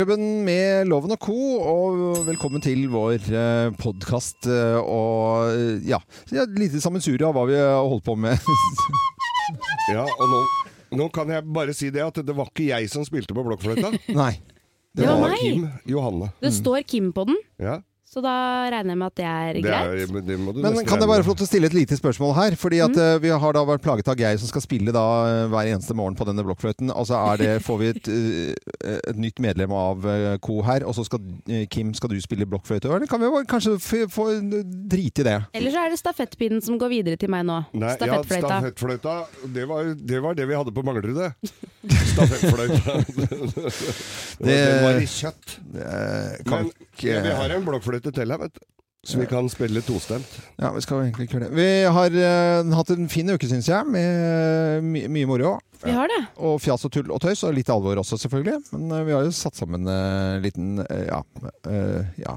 Klubben med Loven og Co., og velkommen til vår eh, podkast. eh, Og eh, ja, ja lite sammensurium av hva vi har holdt på med. Ja, og nå, nå kan jeg bare si det at det var ikke jeg som spilte på blokkfløyta. Nei. Det Det var var meg. Kim Johanne. Det står Kim på den, Ja, så da regner jeg med at det er det, greit. er, det må du Men nesten kan jeg regne bare med. få lov til å stille et lite spørsmål her? Fordi at eh, vi har da vært plaget av Geir som skal spille da eh, hver eneste morgen på denne blokkfløyten. Altså er det, får vi et, eh, et nytt medlem av eh, Co her, og så skal eh, Kim, skal du spille blokkfløyte? Eller kan vi bare kanskje f- få drite i det? Eller så er det stafettpinnen som går videre til meg nå. Nei, Stafettfløyta. Ja, stafettfløyta. Det var, det var det vi hadde på Manglerud, det. Stafettfløyta. det, den var i kjøtt. Eh, Men Kan ikke vi har en blokkfløyte til her, vet du. Så vi kan spille tostemt. Ja, vi skal egentlig ikke gjøre det. Vi har eh, hatt en fin uke, syns jeg, med eh, my mye moro. Vi har det. Og fjas og tull og tøys, og litt alvor også, selvfølgelig. Men eh, vi har jo satt sammen en liten eh, Ja. eh, ja.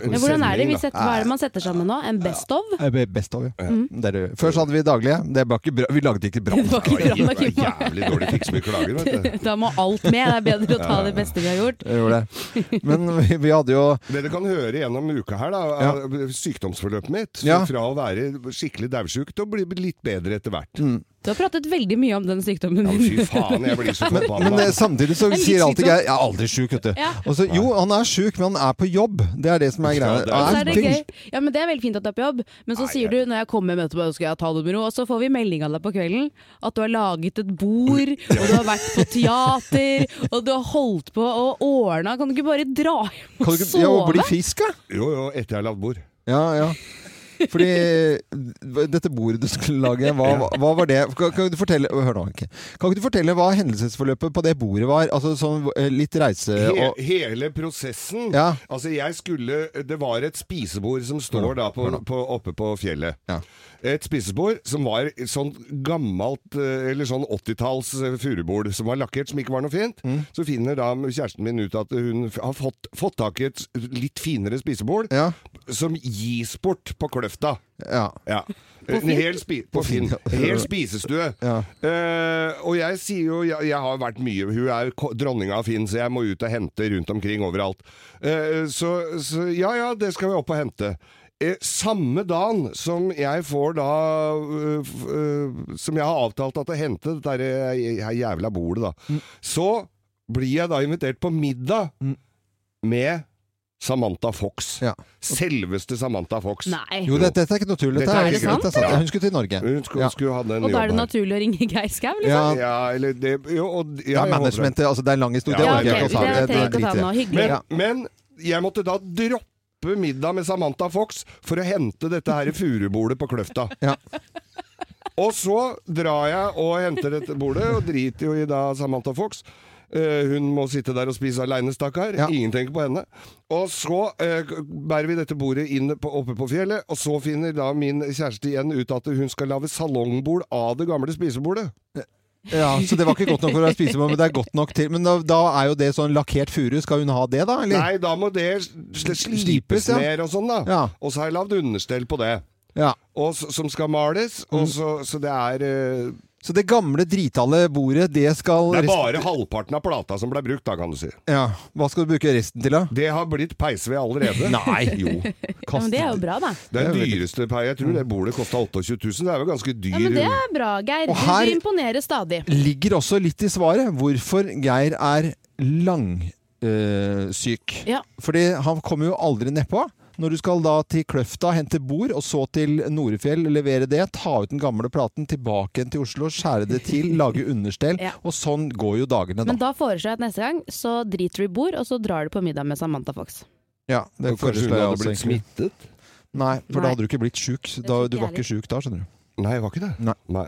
Men hvordan er det? Vi Sending, da. setter, hva er det man setter sammen nå? En best of? Eh, be- Best of, ja. Det er det. Før så hadde vi daglige. Det var ikke bra. Vi lagde ikke bra. Det var ikke bra nok, Det Kim. var jævlig dårlig fiks med klager, vet du. Da må alt med. Det er bedre å ta det beste vi har gjort. Jeg gjorde det. Men vi, vi hadde jo Dere kan høre gjennom uka her, da. Ja. av Sykdomsforløpet mitt. Så Ja. Fra å være skikkelig dauvsjuk til å bli litt bedre etter hvert. Mm. Du har pratet veldig mye om den sykdommen Ja, men din. fy faen, jeg blir så Men forbanna. eh, samtidig så Det er litt sier alltid sykdom. Geir Jeg er aldri sjuk, vet du. liksom. Ja. Og så, jo, han er sjuk, men han er på jobb. Det er det som er Ja, greia. det er- Så Han er det veldig- gøy. Ja, men det er veldig fint at du er på jobb, men Ah, så Nei, sier du når jeg kommer med etterpå, skal jeg ta det med ro, og så får vi melding av deg på kvelden at du har laget et bord, og du har vært på teater, og du har holdt på og ordna. Kan du ikke bare dra hjem og Kan du ikke ja, sove? bli frisk, da? Jo, jo, etter jeg har lagd bord. Ja, ja. Fordi dette bordet du skulle lage, hva, hva var det? Kan, kan du fortelle Hør nå, ikke. Kan ikke du fortelle hva hendelsesforløpet på det bordet var? Altså sånn eh, litt reise He og hele prosessen. Ja. Altså, jeg skulle Det var et spisebord som står da på, på, oppe på fjellet. Ja. Et spisebord som var et sånn gammelt eh, Eller sånn 80-talls eh, furubord som var lakkert, som ikke var noe fint. Mm. Så finner da kjæresten min ut at hun f- har fått, fått tak i et litt finere spisebord Ja. som gis bort på Kløfta. ja. Ja. En Eh, hel, spi på Finn. En hel spisestue. Ja. Eh, og jeg sier jo jeg, jeg har vært mye Hun er ko- dronninga av Finn, så jeg må ut og hente rundt omkring overalt. Eh, så, så ja ja, det skal vi opp og hente. Eh, samme dagen som jeg får da eh, f- eh, Som jeg har avtalt at å hente dette her, eh, her jævla bordet, da. Mm. Så blir jeg da invitert på middag med Samantha Fox. Ja. Selveste Samantha Fox. Nei. Jo, dette, dette er ikke noe tull. Dette Dette er er, ikke dette er sant, sant. Ja, hun skulle til Norge. Hun skulle, Ja. skulle ha den Og da er det jobben her. naturlig å ringe Geir Skau, liksom? Ja, Ja, eller det jo, og, ja, ja jeg håper det. managementet Altså, det er en lang historie. Ja, Det ok, orker jeg ikke å ta. det Det, det trenger ikke å ta driter nå. jeg i. Hyggelig. Men, Ja. men jeg måtte da droppe middag med Samantha Fox for å hente dette her furubordet på Kløfta. Ja. Og så drar jeg og henter dette bordet, og driter jo i da Samantha Fox. Eh, hun må sitte der og spise aleine, stakkar. Ja. Ingen tenker på henne. Og så eh, bærer vi dette bordet inn på, oppe på fjellet, og så finner da min kjæreste igjen ut at hun skal lage salongbord av det gamle spisebordet. Ja, så det var ikke godt nok for å spise på, men det er godt nok til. Men da, da er jo det sånn lakkert furu. Skal hun ha det, da? Eller? Nei, da må det sl slipes, Slipes, ja. ned og sånn, da. Ja. Og så har jeg lagd understell på det. Ja. Mm. og, s- som skal males. Og så, så det er eh, Så det gamle dritale bordet, det skal Det er rest- bare halvparten av plata som ble brukt, da, kan du si. ja. Hva skal du bruke resten til, da? Det har blitt peisved allerede. Nei! Jo. Ja, men det er jo bra, da. Det er Det er den veldig- Mm. dyreste peis. Jeg tror det bordet kosta 28 000. Det er jo ganske dyr. Ja, men det er bra, Geir. Og her- Du imponerer stadig. ligger også litt i svaret hvorfor Geir er langsyk. syk. Ja. Fordi han kommer jo aldri nedpå. Når du skal da til Kløfta, hente bord, og så til Norefjell, levere det, ta ut den gamle platen, tilbake igjen til Oslo, skjære det til, lage understell, Ja. og sånn går jo dagene da. Men da foreslår jeg at neste gang så driter du i bord, og så drar du på middag med Samantha Fox. Ja, det Og Kanskje hun foreslår jeg hadde også, blitt egentlig. smittet? Nei, for Nei. da hadde du ikke blitt sjuk. Da, tror ikke du var jeg ikke sjuk da, skjønner du. Nei, var ikke det? Nei.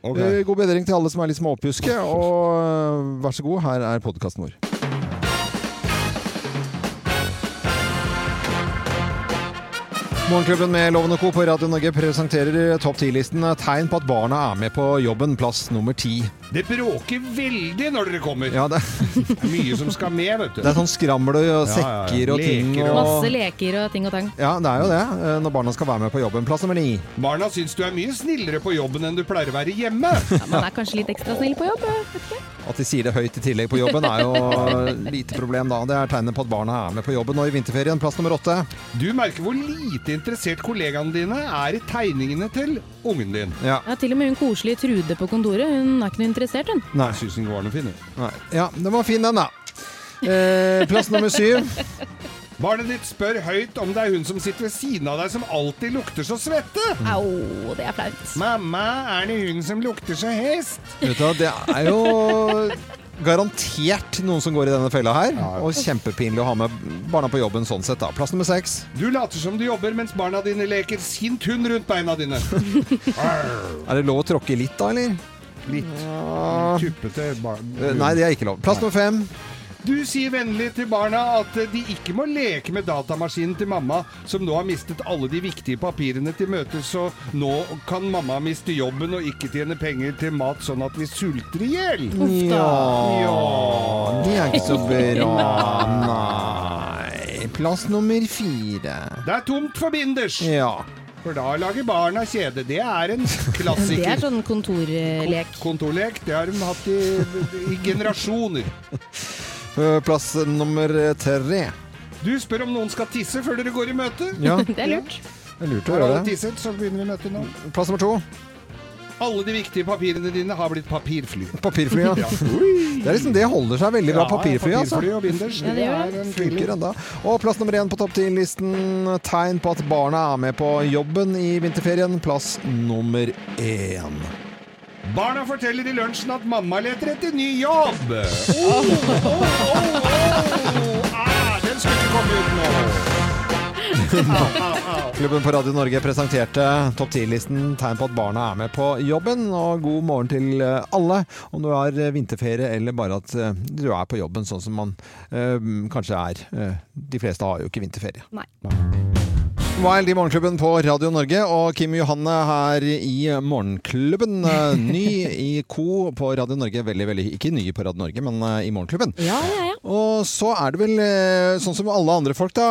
Ok. Eh, God bedring til alle som er litt småoppjuske, og eh, vær så god, her er podkasten vår. Morgenklubben med Loven og Co. på Radio Norge presenterer topp 10-listen tegn på at barna er med på jobben, plass nummer ti. Det bråker veldig når dere kommer. Ja, det, Det er mye som skal med, vet du. det er sånn skraml og ja, ja. sekker og ting. Leker og- Masse Og, leker og ting og tang. ja, det er jo det. eh, Når barna skal være med på jobben, plass nummer ni. Barna syns du er mye snillere på jobben enn du pleier å være hjemme. Ja, man er kanskje litt ekstra snill på jobb. eh. At de sier det høyt i tillegg på jobben er jo lite problem da. Det er tegnet på at barna er med på jobben nå i vinterferien. Plass nummer åtte. Du merker hvor lite interessert kollegaene dine er i tegningene til ungen din. Ja. Ja, til og med hun koselige Trude på kontoret, hun er ikke noe interessert, hun. Nei. Jeg syns den var noe fin. jeg. Nei. Ja, den var fin den, da. Eh, plass nummer syv. Barnet ditt spør høyt om det er hun som sitter ved siden av deg som alltid lukter så svette. Au, det er flaut. Mamma, er det hun som lukter så hest? Vet du, hva, det er jo garantert noen som går i denne fella her. Og kjempepinlig å ha med barna på jobben sånn sett, da. Plass nummer seks. Du later som du jobber mens barna dine leker sint hund rundt beina dine. Er det lov å tråkke litt, da, eller? Litt tuppete barn. Eh, Ah. Nei, det er ikke lov. Plass nummer fem. Du sier vennlig til barna at de ikke må leke med datamaskinen til mamma, som nå har mistet alle de viktige papirene til møtet, så nå kan mamma miste jobben og ikke tjene penger til mat, sånn at vi sulter i hjel. Ja, det er ikke så bra. Nei. Plass nummer fire. Det er tomt for binders, Ja. for da lager barna kjede. Det er en Det er klassiker. sånn kontorlek. Kontorlek, det har de hatt i, i generasjoner. Eh, Plass nummer tre. Du spør om noen skal tisse før dere går i møte. Ja, Det er lurt. det er lurt å Har gjøre alle det. tisset, så begynner vi møtet nå. Plass nummer to. Alle de viktige papirene dine har blitt papirfly. Papirfly, ja. Det er liksom det holder seg veldig bra. Papirfly, altså. Papirfly og binders. Ja, det gjør det. er en thriller. Funker enda. Og plass nummer én på topp 10-listen. Tegn på at barna er med på jobben i vinterferien. Plass nummer én. Barna forteller i lunsjen at mamma leter etter ny jobb. Oh, oh, oh, oh. Ah, den skulle ikke komme ut nå. Klubben på Radio Norge presenterte topp 10-listen tegn på at barna er med på jobben. Og god morgen til eh, alle, om du har eh, vinterferie eller bare at eh, du er på jobben, sånn som man eh, kanskje er. Eh, De fleste har jo ikke vinterferie. Nei. Wild i Morgenklubben på Radio Norge, og Kim Johanne her i Morgenklubben. Eh, Ny i co. på Radio Norge. Veldig, veldig Ikke ny på Radio Norge, men eh, i Morgenklubben. Ja, ja, ja. Og så er det vel eh, sånn som alle andre folk, da,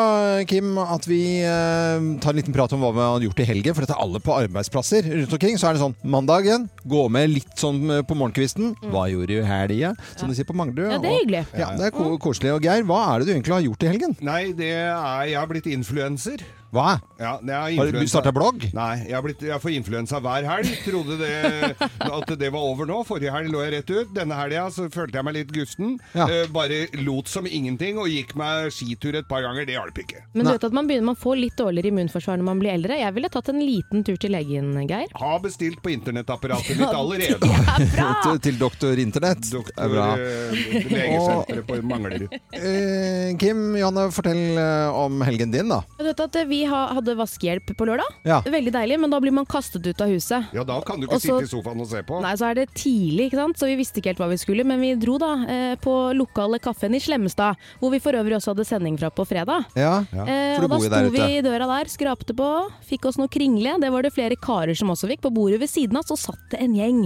Kim, at vi eh, tar en liten prat om hva vi har gjort i helgen. For dette er alle på arbeidsplasser rundt omkring. Så er det sånn mandagen, gå med litt sånn eh, på morgenkvisten. Hva gjorde du i helga? Som de sier på Mm. Manglerud. ja, det er og- hyggelig. Ja, det er ko koselig. Og Geir, hva er det du egentlig har gjort i helgen? Nei, det er, jeg har blitt influenser. Hva? Ja, jeg er Har du influenser. starta blogg? Nei, jeg, har blitt, jeg får influensa hver helg. Trodde det, at det var over nå. Forrige helg lå jeg rett ut. Denne helga så følte jeg meg litt gusten. Ja. Eh, bare lot som ingenting og gikk meg skitur et par ganger. Det hjalp ikke. Men Nei. du vet at man begynner man får litt dårligere immunforsvar når man blir eldre. Jeg ville tatt en liten tur til legen, Geir. Har bestilt på internettapparatet mitt allerede. Til, til doktor Internett. Det er Doktor bra. eh, Legesenteret på Manglerud. Eh, Kim, Johanne, fortell eh, om helgen din, da. Du vet at eh, Vi ha- hadde vaskehjelp på lørdag. Ja. Veldig deilig, men da blir man kastet ut av huset. Ja, da kan du ikke Og så- sitte i sofaen og se på. Nei, så er det tidlig, ikke sant? så vi visste ikke helt hva vi skulle. Men vi dro da eh, på lokale kaffen i Slemmestad, hvor vi for øvrig også hadde sending fra på fredag. Ja, Eh, for og du da bor jo sto der vi ute. i døra der, skrapte på, fikk oss noe kringle. Det var det flere karer som også fikk. På bordet ved siden av så satt det en gjeng.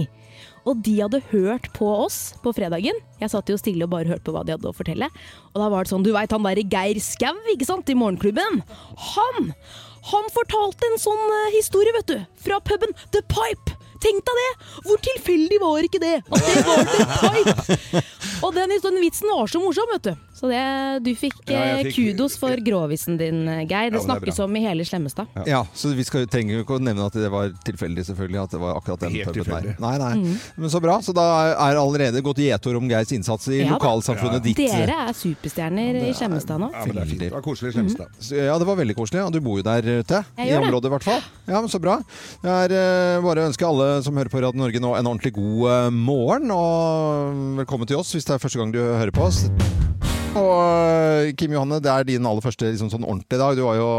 Og de hadde hørt på oss på fredagen. Jeg satt jo stille og bare hørte på hva de hadde å fortelle. Og da var det sånn, du veit han derre Geir Skau, ikke sant, i Morgenklubben? Han! Han fortalte en sånn eh, historie, vet du, fra puben The Pipe. Tenk deg det! Hvor tilfeldig var ikke det? At det var The Pipe! Og den historien, vitsen var så morsom, vet du. Så det, du fikk, Ja, jeg eh, fikk- kudos for grovisen din, eh, Geir. men det Det er snakkes bra. om i hele Slemmestad. Ja, så vi skal, trenger jo ikke å nevne at det var tilfeldig, selvfølgelig. At det var akkurat den Helt puben der. tilfeldig. Nei, nei. Mm. Men så bra. Så da er allerede gått gjetord om Geirs innsats i Ja da. lokalsamfunnet ditt. Dere er superstjerner i Slemmestad nå. Ja, men det er fint. Det var koselig i Slemmestad. Så, Mm. Ja, det var veldig koselig. Og du bor jo der ute. Jeg I gjør det. området, i hvert fall. Ja, men Så bra. Det er eh, bare å ønske alle som hører på Radio Norge nå, en ordentlig god eh, morgen. Og velkommen til oss hvis det er første gang du hører på oss. Og eh, Kim Johanne, det er din aller første liksom, sånn ordentlige dag. Du, var jo,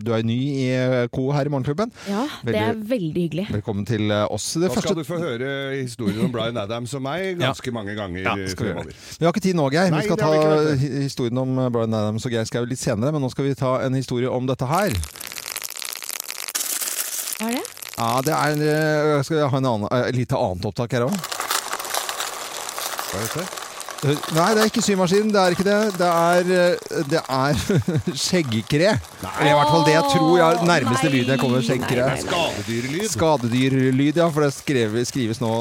du er jo ny i eh, Co her i Morgenklubben. Ja, det er veldig hyggelig. Velkommen til eh, oss. Det Da skal du få høre historien om Bryan Adams og meg ganske mange ganger Ja, skal vi gjøre fremover. det. Vi har ikke tid nå, Geir. Nei, vi skal det har ta vi ikke, vet eh, hi- historien om Bryan Adams og Geir Skau litt senere. Men nå skal vi ta en historie om dette her. Hva er det? Ja, det er en, eh, Skal vi ha en annen, eh, et lite annet opptak her òg? Hva heter det? Nei, det er ikke symaskinen. Det er ikke det. Det er, eh, det er skjeggkre. Eller i hvert fall det jeg tror er nærmeste Nei. lyden jeg kommer. Skjeggkre. Nei, nei, nei. Skadedyrlyd. Skadedyrlyd, ja. For det skrev- skrives nå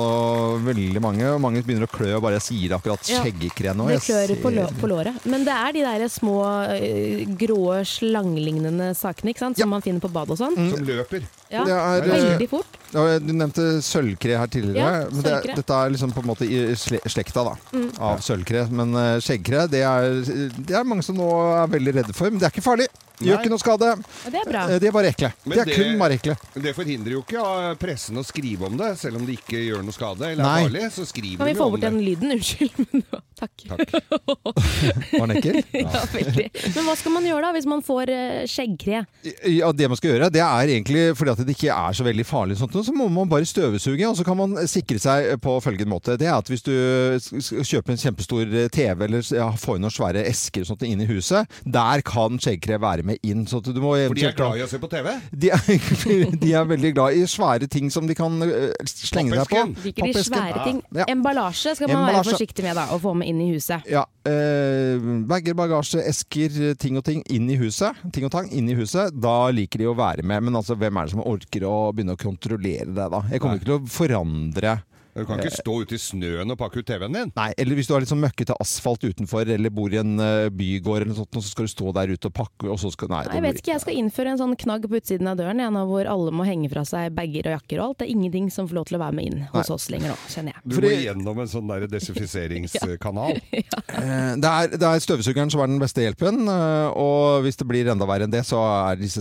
veldig mange. Og mange begynner å klø bare jeg sier akkurat Ja. skjeggkre nå. Det Jeg klør på, lå ser- på låret. Men det er de der små eh, grå slanglignende sakene ikke sant? som man finner på badet og sånn. Som løper. Ja, Mm. Det er, eh, Veldig fort. Ja, Du nevnte sølvkre her tidligere. Ja, men det, sølvkre. er- dette er liksom på en måte i sle- slekta da, Mm. av sølvkre. Men eh, skjeggkre det er, det er mange som nå er veldig redde for. Men det er ikke farlig. Gjør Nei. ikke noe skade. Og det er bra. Eh, De er bare ekle. Men De er det- kun bare ekle. Men Det forhindrer jo ikke ja, pressen å skrive om det, selv om det ikke gjør noe skade eller Nei. er farlig. Så skriver Kan vi få de jo om bort det. den lyden? Unnskyld. Men, det var- takk. Var den ekkel? Ja, veldig. Men hva skal man gjøre da, hvis man får eh, skjeggkre? Ja, det man skal gjøre, det er egentlig fordi at det ikke er så veldig farlig, sånt, noe, så må man bare støvsuge, og så kan man sikre seg på følgende måte. Det er at hvis du s- s- kjøper en kjempestor eh, TV, eller s- ja, får inn noen svære esker og sånt inn i huset, der kan skjeggkre være med inn. Så at du må For de er glad i å se på TV. De er, de er veldig glad i svære ting som de kan øh, slenge deg på. Pappesken. Liker de Pappesken. svære ting? Ja. Emballasje skal man Emballasje. være forsiktig med da, å få med inn i huset. Ja, eh, Bager, bagasje, esker, ting og ting inn i huset. Ting og tang inn i huset. Da liker de å være med. Men altså, hvem er det som orker å begynne å kontrollere deg, da? Jeg kommer Nei. ikke til å forandre Du kan Eh. ikke stå ute i snøen og pakke ut TV-en din. Nei, eller hvis du har litt sånn møkkete asfalt utenfor, eller bor i en eh, bygård eller noe sånt, og så skal du stå der ute og pakke, og så skal Nei, Jeg vet ikke, jeg skal innføre en sånn knagg på utsiden av døren jeg, nå hvor alle må henge fra seg bager og jakker og alt. Det er ingenting som får lov til å være med inn hos oss lenger nå, kjenner jeg. Du Fordi- må gjennom en sånn der desinfiseringskanal. Eh, Det er, det er støvsugeren som er den beste hjelpen, eh, og hvis det blir enda verre enn det, så er disse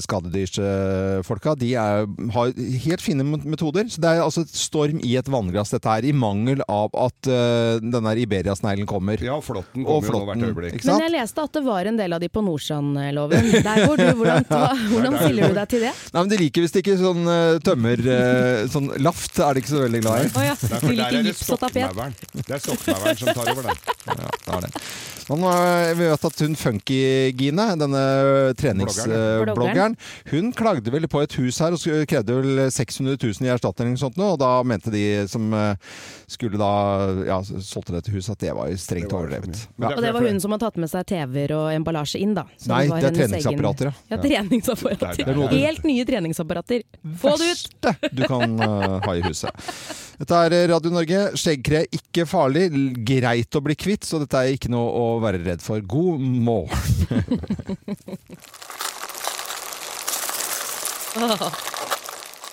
skadedyrsfolka De er, har helt fine mot- metoder. Så det er altså et storm i et vannglass, dette her, i mangel av at eh, den der Iberia-sneglen kommer. Ja, flåtten og kommer jo nå hvert øyeblikk. ikke Men sant? jeg leste at det var en del av de på Nordstrandloven. Der går du, hvordan, hva, hvordan stiller du deg til det? Nei, men De liker visst ikke sånn eh, tømmer... eh, Sånn laft er de ikke så veldig glad i. Å ja, du Nei, for der liker er det gips og tapet. stokkmauren. Det er stokkmauren som tar over den. Det er det. Men øh, vi vet at hun Funky-Gine, denne Bloggeren. treningsbloggeren, hun klagde vel på et hus her og skulle- krevde vel 600 000 i erstatning eller noe sånt nå, og da mente de som øh, skulle da ja, solgte dette huset at det var jo strengt Det var Men overdrevet. Ja. Og det var hun som har tatt med seg TV-er og emballasje inn, da. Så Nei, var det er hennes egen- treningsapparater, ja. Ja, Det treningsapparater. er noe- Helt nye treningsapparater. Få det ut! Verste du kan øh, ha i huset. Dette er eh, Radio Norge. Skjeggkre ikke farlig, l- greit å bli kvitt, så dette er ikke noe å være redd for. God morgen.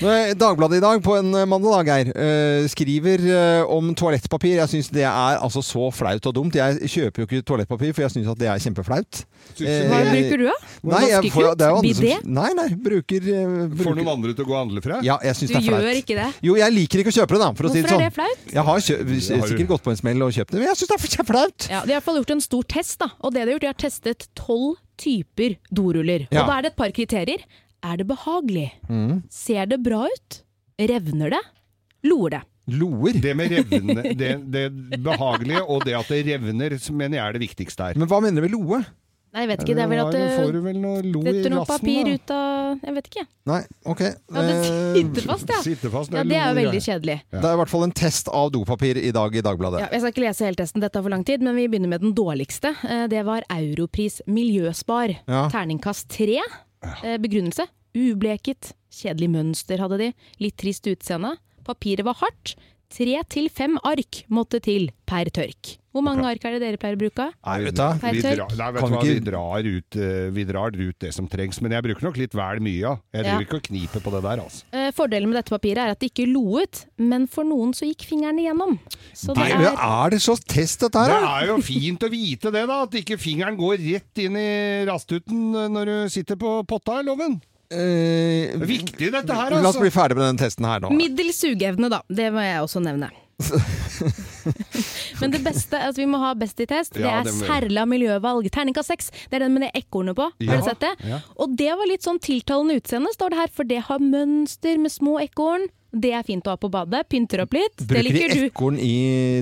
Nå er eh, Dagbladet i dag på en mandag Geir, eh, skriver eh, om toalettpapir. Jeg syns det er altså så flaut og dumt. Jeg kjøper jo ikke toalettpapir, for jeg syns at det er kjempeflaut. Synes Hva Eh, bruker du, da? Nei, jeg får, det er jo andre Bidé? som, nei, nei, bruker, eh, du- Får bruker noen andre til å gå og handle fra? Ja, jeg Du syns det er flaut. gjør ikke det. Jo, jeg liker ikke å kjøpe det, da, for å si det Hvorfor er sånn. det flaut? Jeg har kjø Har du- sikkert gått på en smell og kjøpt det, men jeg syns det er kjempeflaut. Ja, de har i hvert fall gjort en stor test, da. Og det de har gjort, de har testet tolv typer doruller. Ja. Og da er det et par kriterier. Er det behagelig? Mm. Ser det bra ut? Revner det? Loer det? Loer. Det med revne, det, det behagelige og det at det revner, mener jeg er det viktigste her. Men hva mener du med loe? Nei, jeg vet ikke. Det er vel at eh, Da får det du vel noe lo i detter noe rassen, papir da. ut av Jeg vet ikke. Nei, ok. Ja, det Eh, sitter fast, ja. Sitter fast, Ja, eller Det er jo noe veldig greier. kjedelig. det er i hvert fall en test av dopapir i dag i Dagbladet. Ja, jeg skal ikke lese hele testen, dette er for lang tid, men vi begynner med den dårligste. Eh, Det var Europris Miljøspar. Ja. Terningkast tre. Eh, Begrunnelse ubleket. Kjedelig mønster hadde de. Litt trist utseende. Papiret var hardt. Tre til fem ark måtte til per tørk. Hvor mange ark er det dere pleier å bruke? Nei, vet du. hva? Per Vi tørk. drar, nei, vet Kan du hva, vi vi ikke- drar, ut, eh, vi drar ut det som trengs, men jeg bruker nok litt vel mye. ja. Jeg Ja. driver ikke og kniper på det der, altså. Eh, Fordelen med dette papiret er at det ikke lo ut, men for noen så gikk fingrene gjennom. Så det Nei, men er er det så test, dette her, Det da? er jo fint å vite det, da. At ikke fingeren går rett inn i rastuten når du sitter på potta i loven. Eh, Det er viktig, dette her, La oss altså. bli ferdig med den testen her nå. middels sugeevne, da. Det må jeg også nevne. Men det beste, altså vi må ha best i test, det Ja, er det må vi. Serla miljøvalg. Terningkast seks. Det er den med det ekornet på. Ja. Har du sett det? Ja. Og det var litt sånn tiltalende utseende, står det her, for det har mønster med små ekorn. Det er fint å ha på badet. Pynter opp litt. Det Bruker liker de du. ekorn i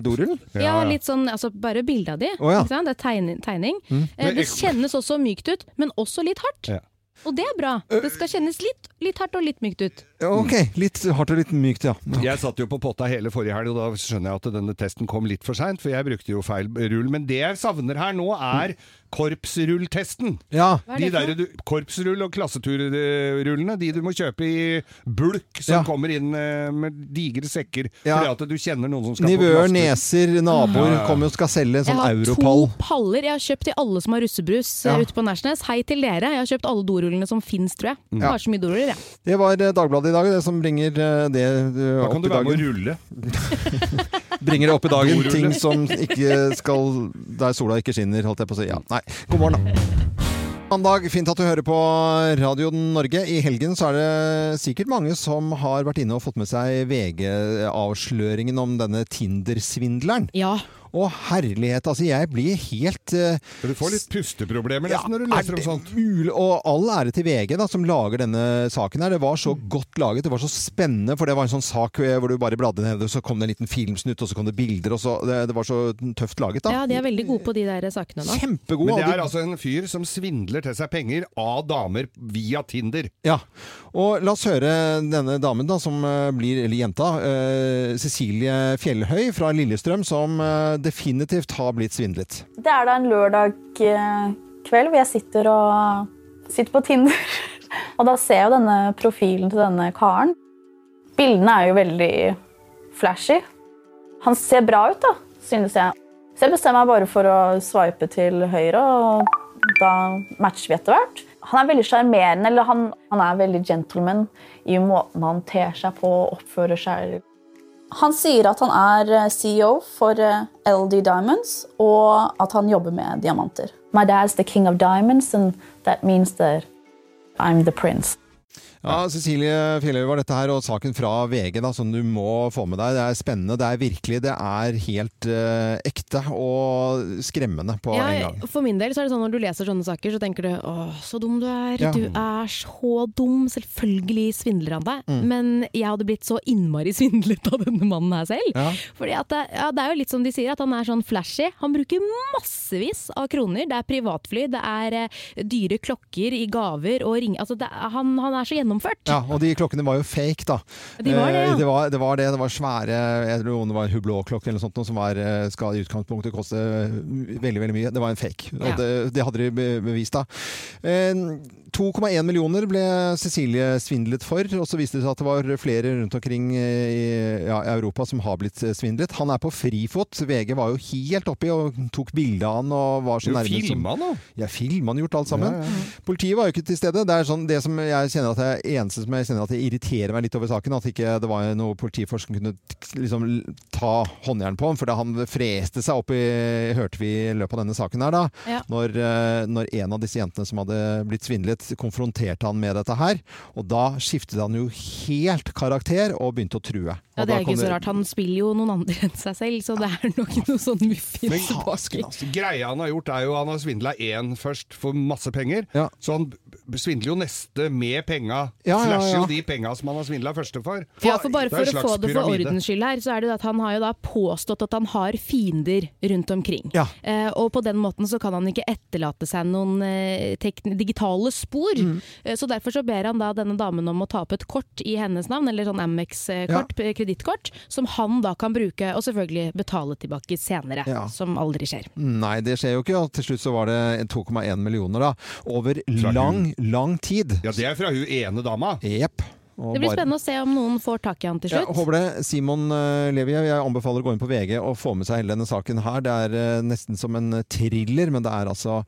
dorullen? Ja, litt sånn, altså Bare bildet av de. Å, ja. ikke sant? Det er tegning. tegning. Eh, Men det ekor- kjennes også mykt ut, men også litt hardt. Ja. Og det er bra. Det skal kjennes litt, litt hardt og litt mykt ut. Ok, Mm. litt hardt og litt mykt, ja. Jeg satt jo på potta hele forrige helg, og da skjønner jeg at denne testen kom litt for seint, for jeg brukte jo feil rull. Men det jeg savner her nå, er korpsrulltesten. Ja, Hva er De det for der du, korpsrull og klasseturrullene, de du må kjøpe i bulk, som Ja. kommer inn eh, med digre sekker. Ja. Fordi at du kjenner noen som skal Nivøer, på plaster. neser, naboer kommer og skal selge en Jeg sånn har europall. to paller jeg har kjøpt til alle som har russebrus eh, Ja. ute på Nærsnes. Hei til dere. Jeg har kjøpt alle dorullene som fins, tror jeg. Jeg Har så mye doruller, jeg. Det var eh, Dagbladet i dag, det som bringer eh, det eh, Da opp kan du i være med dagen. å rulle. Bringer det opp i dagen. Dorulle. Ting som ikke skal Der sola ikke skinner, holdt jeg på å si. Ja, nei. God morgen, da. Mandag, fint at du hører på Radio Norge. I helgen så er det sikkert mange som har vært inne og fått med seg VG-avsløringen om denne Tinder-svindleren. Ja. Å herlighet, altså jeg blir helt eh, Du får litt pusteproblemer nesten når du er leser om det sånt. mulig? Og all ære til VG da, som lager denne saken her. Det var så Mm. godt laget, det var så spennende, for det var en sånn sak hvor du bare bladde ned, og så kom det en liten filmsnutt, og så kom det bilder, og så Det, det var så tøft laget, da. ja, de er veldig gode på de der sakene nå. Kjempegod. Men det og er du- altså en fyr som svindler til seg penger av damer via Tinder. Ja. Og la oss høre denne damen, da, som eh, blir Eller jenta. eh, Cecilie Fjellhøy fra Lillestrøm, som eh, definitivt har blitt svindlet. Det er da en lørdag eh, kveld hvor jeg sitter, og sitter på Tinder. Og da ser jeg jo denne profilen til denne karen. Bildene er jo veldig flashy. Han ser bra ut, da, synes jeg. Så jeg bestemmer meg bare for å sveipe til høyre, og da matcher vi etter hvert. Han er veldig sjarmerende, eller han, han er veldig gentleman i måten han ter seg på og oppfører seg han sier at han er eh, CEO for eh, LD Diamonds, og at han jobber med diamanter. My dad's the king of diamonds, and that means that I'm the prince. Ja, Cecilie Fjelløy var dette her, og saken fra VG da, som du må få med deg. Det er spennende, det er virkelig, det er helt eh, ekte og skremmende på en Ja, gang. for min del så er det sånn når du leser sånne saker, så tenker du åh, så dum du er. Ja. Du er så dum. Selvfølgelig svindler han deg. Mm. Men jeg hadde blitt så innmari svindlet av denne mannen her selv. Ja. Fordi at det, ja, det er jo litt som de sier, at han er sånn flashy. Han bruker massevis av kroner. Det er privatfly, det er eh, dyre klokker i gaver og ring... Altså, det, er- han, han er så gjennomført. Ja, og de klokkene var jo fake, da. De var det, ja. Eh, det, var, det var det. Det var svære jeg tror det var Hublot-klokker eller noe sånt, noe som var, eh, skal i utgangspunktet koste eh, veldig veldig mye. Det var en fake. Ja. Og det, det hadde de be- bevist, da. Eh, 2,1 millioner ble Cecilie svindlet for, og så viste det seg at det var flere rundt omkring eh, i ja, i Europa som har blitt eh, svindlet. Han er på frifot. VG var jo helt oppi og tok bilde av han og var så Du nærme som filma nå! ja, film han gjort alt sammen. Politiet var jo ikke til stede. Det er sånn, det som jeg kjenner at jeg, eneste som jeg kjenner at jeg irriterer meg litt over saken, at ikke det var noe politiforsker kunne t- liksom l- ta håndjern på ham, for da han freste seg opp i, hørte vi i løpet av denne saken her da, Ja. når, eh, når en av disse jentene som hadde blitt svindlet, konfronterte han med dette her, og da skiftet han jo helt karakter og begynte å true. Ja, Og Det da er kom ikke så rart. Han spiller jo noen andre enn seg selv, så det er nok noe sånn Men muffins haken, baki. altså. Greia han har gjort er jo Han har svindla én først for masse penger, Ja. så han b- svindler jo neste med penga. Ja, ja, Flasher ja. jo de penga som han har svindla første for. Ja, for bare for Det er en å slags få det for pyramide. ordens skyld her, så er det jo at han har jo da påstått at han har fiender rundt omkring. Ja. Eh, og på den måten så kan han ikke etterlate seg noen eh, tekn- digitale spor. Eh, så derfor så ber han da denne damen om å ta opp et kort i hennes navn, eller sånn Amex-kort, eh, kredittkort, som han da kan bruke og selvfølgelig betale tilbake senere. Ja. Som aldri skjer. Nei, det skjer jo ikke, og til slutt så var det 2,1 millioner da, over Fra lang, lang tid. Ja, det er fra hun ene dama. Jepp. Og Det blir bare- spennende å se om noen får tak i han til Ja, slutt. håper det. Simon eh, Levi, jeg anbefaler å gå inn på VG og få med seg hele denne saken her. Det er eh, nesten som en thriller, men det er altså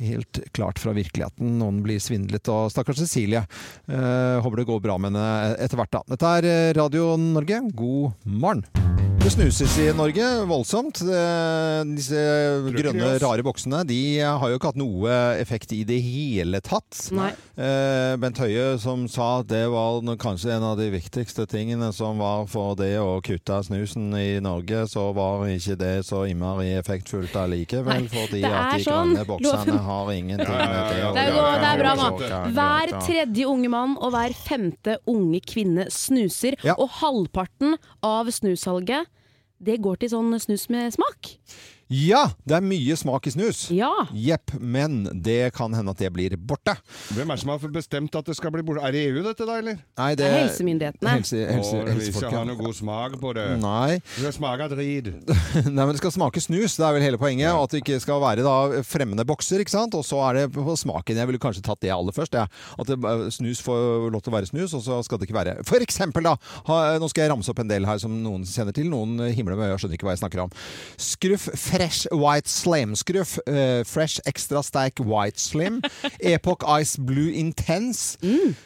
helt klart fra virkeligheten. Noen blir svindlet, og stakkars Cecilie. Eh, håper det går bra med henne etter hvert, da. Dette er eh, Radio Norge, god morgen! Det snuses i Norge voldsomt. Eh, Disse ikke grønne, det, ass. rare boksene de har jo ikke hatt noe effekt i det hele tatt. Nei. Eh, Bent Høie som sa at det var no- kanskje en av de viktigste tingene som var for det å kutte snusen i Norge, så var ikke det så innmari effektfullt allikevel, Nei, fordi det er at de sånn. grønne boksene Loven- har ingenting Ja, ja, med det ja, å Det er jo- gjøre. det er bra, mann. Såkalt, Hver ja. tredje unge mann og hver femte unge kvinne snuser. Ja. Og halvparten av snussalget det går til sånn snus med smak. Ja, det er mye smak i snus. Ja. Jepp, men det kan hende at det blir borte. Hvem er det som har bestemt at det skal bli borte? Er det EU dette, da, eller? Nei, Det er helsemyndighetene. Helse, helse, Å, vi helsefolk, ikke ja. har noe god smak på det. Nei. Det smaker drit. Nei, men det skal smake snus, det er vel hele poenget. og At det ikke skal være da fremmede bokser, ikke sant. Og så er det på smaken. Jeg ville kanskje tatt det aller først. jeg. At det, eh, snus får lov til å være snus, og så skal det ikke være For eksempel, da! Ha, eh, nå skal jeg ramse opp en del her som noen kjenner til. Noen himler med øyet og skjønner ikke hva jeg snakker om. Skruff Fresh White Slam. Skruff eh, Fresh Extra Sterk White Slim. Epoch Ice Blue Intense.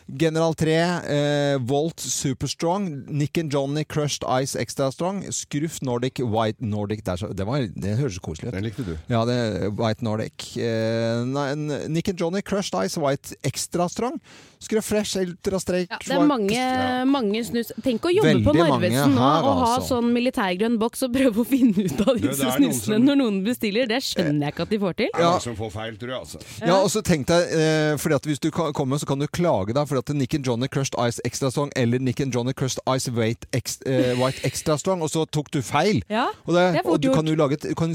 General 3 eh, Volt Superstrong. Nick and Johnny Crushed Ice Extra Strong. Skruff Nordic White Nordic Det, er så, det, var, det høres så koselig ut. Den likte du. Ja, det White Nordic. Eh, nei, n- Nick and Johnny Crushed Ice White Extra Strong. Skruff Fresh Ultra Strek Ja, det er mange, mange snus. Tenk å jobbe på Veldig mange Narvesen nå her, og ha altså. sånn militærgrønn boks og prøve å finne ut av det er disse noen snusene som- når noen bestiller. Det skjønner jeg ikke at de får til. Det er Ja. mange som får feil, tror jeg, altså. Ja, og så tenk deg, eh, fordi at hvis du ka- kommer, så kan du klage deg, fordi at Nick and Johnny Crushed Ice Extra Strong eller Nick and Johnny Crushed Ice Weight ex, eh, White Extra Strong, og så tok du feil. Ja, og, det, det er fort og du kan gjort. jo lage et, du kan jo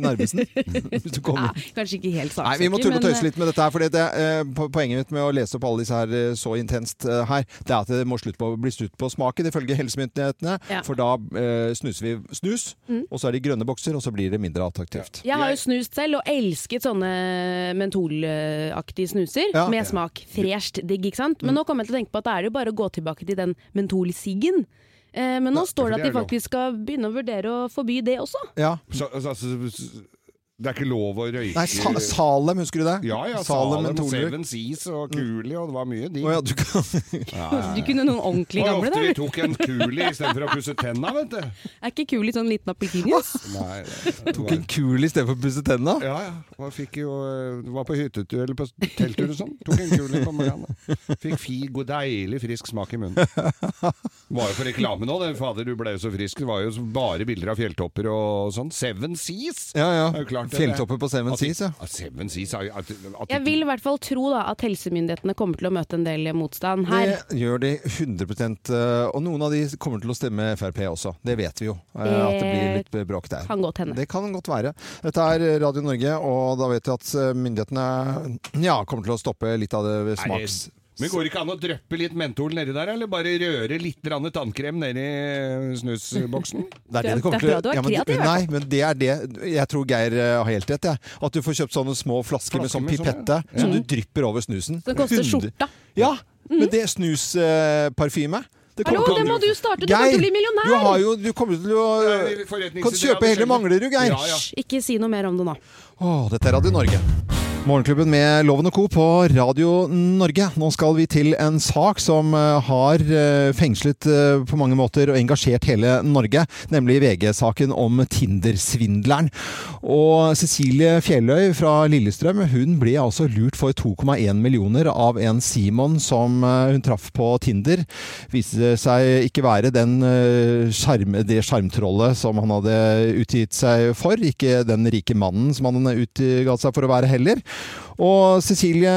Narvesen. hvis du kommer. Ja, kanskje ikke helt Nei, saksaker, Vi må tulle og men- tøyse litt med dette. her, fordi det, eh, po- Poenget mitt med å lese opp alle disse her eh, så intenst eh, her, det er at det må slutt på, bli slutt på smaken, ifølge helsemyndighetene. Ja. Mm. For da eh, snuser vi snus, og så er det grønne bokser, og så blir det mindre attraktivt. Jeg har jo snust selv og elsket sånne mentolaktige snuser Ja. med smak. Fresht digg, ikke sant? Men nå kommer jeg til å tenke på at det er jo bare å gå tilbake til den mentolsiggen. Eh, men nå står det at for det de er lov. faktisk skal begynne å vurdere å forby det også. Ja. Så, altså, altså, det er ikke lov å røyke Nei, sa Salem, husker du det? Ja, ja. Salem, Salem, Mentoler. Seven Seas og Cooley, og det var mye de. Å ja, du kan Du kunne noen ordentlig Og gamle ofte vi der. tok en Cooley istedenfor å pusse tenna, vet du. Er ikke kul i sånn liten appelsinjuice? Nei, det tok var, en kul istedenfor å pusse tenna. ja, ja. Man fikk jo eh, Var på hyttetur eller på telttur og sånn. Tok en Cooley på morgenen. Fikk fi, god, deilig frisk smak i munnen. Var jo på reklame nå, den. Fader, du ble jo så frisk. Det var jo bare bilder av fjelltopper og sånn. Seven Seas! Ja, ja. Det er jo klart det, det. Fjelltopper på Seven At de- Seas, ja. Seven Seas er jo at, at Jeg vil i hvert fall tro da at helsemyndighetene kommer til å møte en del motstand her. Det gjør de 100 eh, Og noen av de kommer til å stemme Frp også. Det vet vi jo. eh, At det blir litt bråk der. Kan godt hende. Det kan godt være. Dette er eh, Radio Norge, og da vet vi at eh, myndighetene eh, ja, kommer til å stoppe litt av det ved Nei, smaks... Men går det ikke an å dryppe litt mentol nedi der, eller bare røre litt grann tannkrem nedi snusboksen? Det det er bra du er ja, kreativ, men, i hvert Nei, men det er det Jeg tror Geir eh, har helt rett, jeg. At du får kjøpt sånne små flasker med Flasker sånn med sånn, pipette som du drypper over snusen. Det koster Hundre- skjorta. Mm. Ja, men det er snusparfyme. Det kommer Hallo, til å- det må du starte! Du kommer til å bli millionær! du, har jo, du kommer til å Kan kjøpe hele Manglerud, Geir. Ja, ja. Hysj, Ikke si noe mer om det nå. Åh, dette er Radio Norge. Morgenklubben med Loven og Co. på Radio Norge. Nå skal vi til en sak som eh, har eh, fengslet eh, på mange måter og engasjert hele Norge, nemlig VG-saken om Tinder-svindleren. Og Cecilie Fjelløy fra Lillestrøm hun ble altså lurt for 2,1 millioner av en Simon som eh, hun traff på Tinder. Viste seg ikke være den, eh, skjerm- det sjarmtrollet som han hadde utgitt seg for, ikke den rike mannen som han utga seg for å være heller. Og Cecilie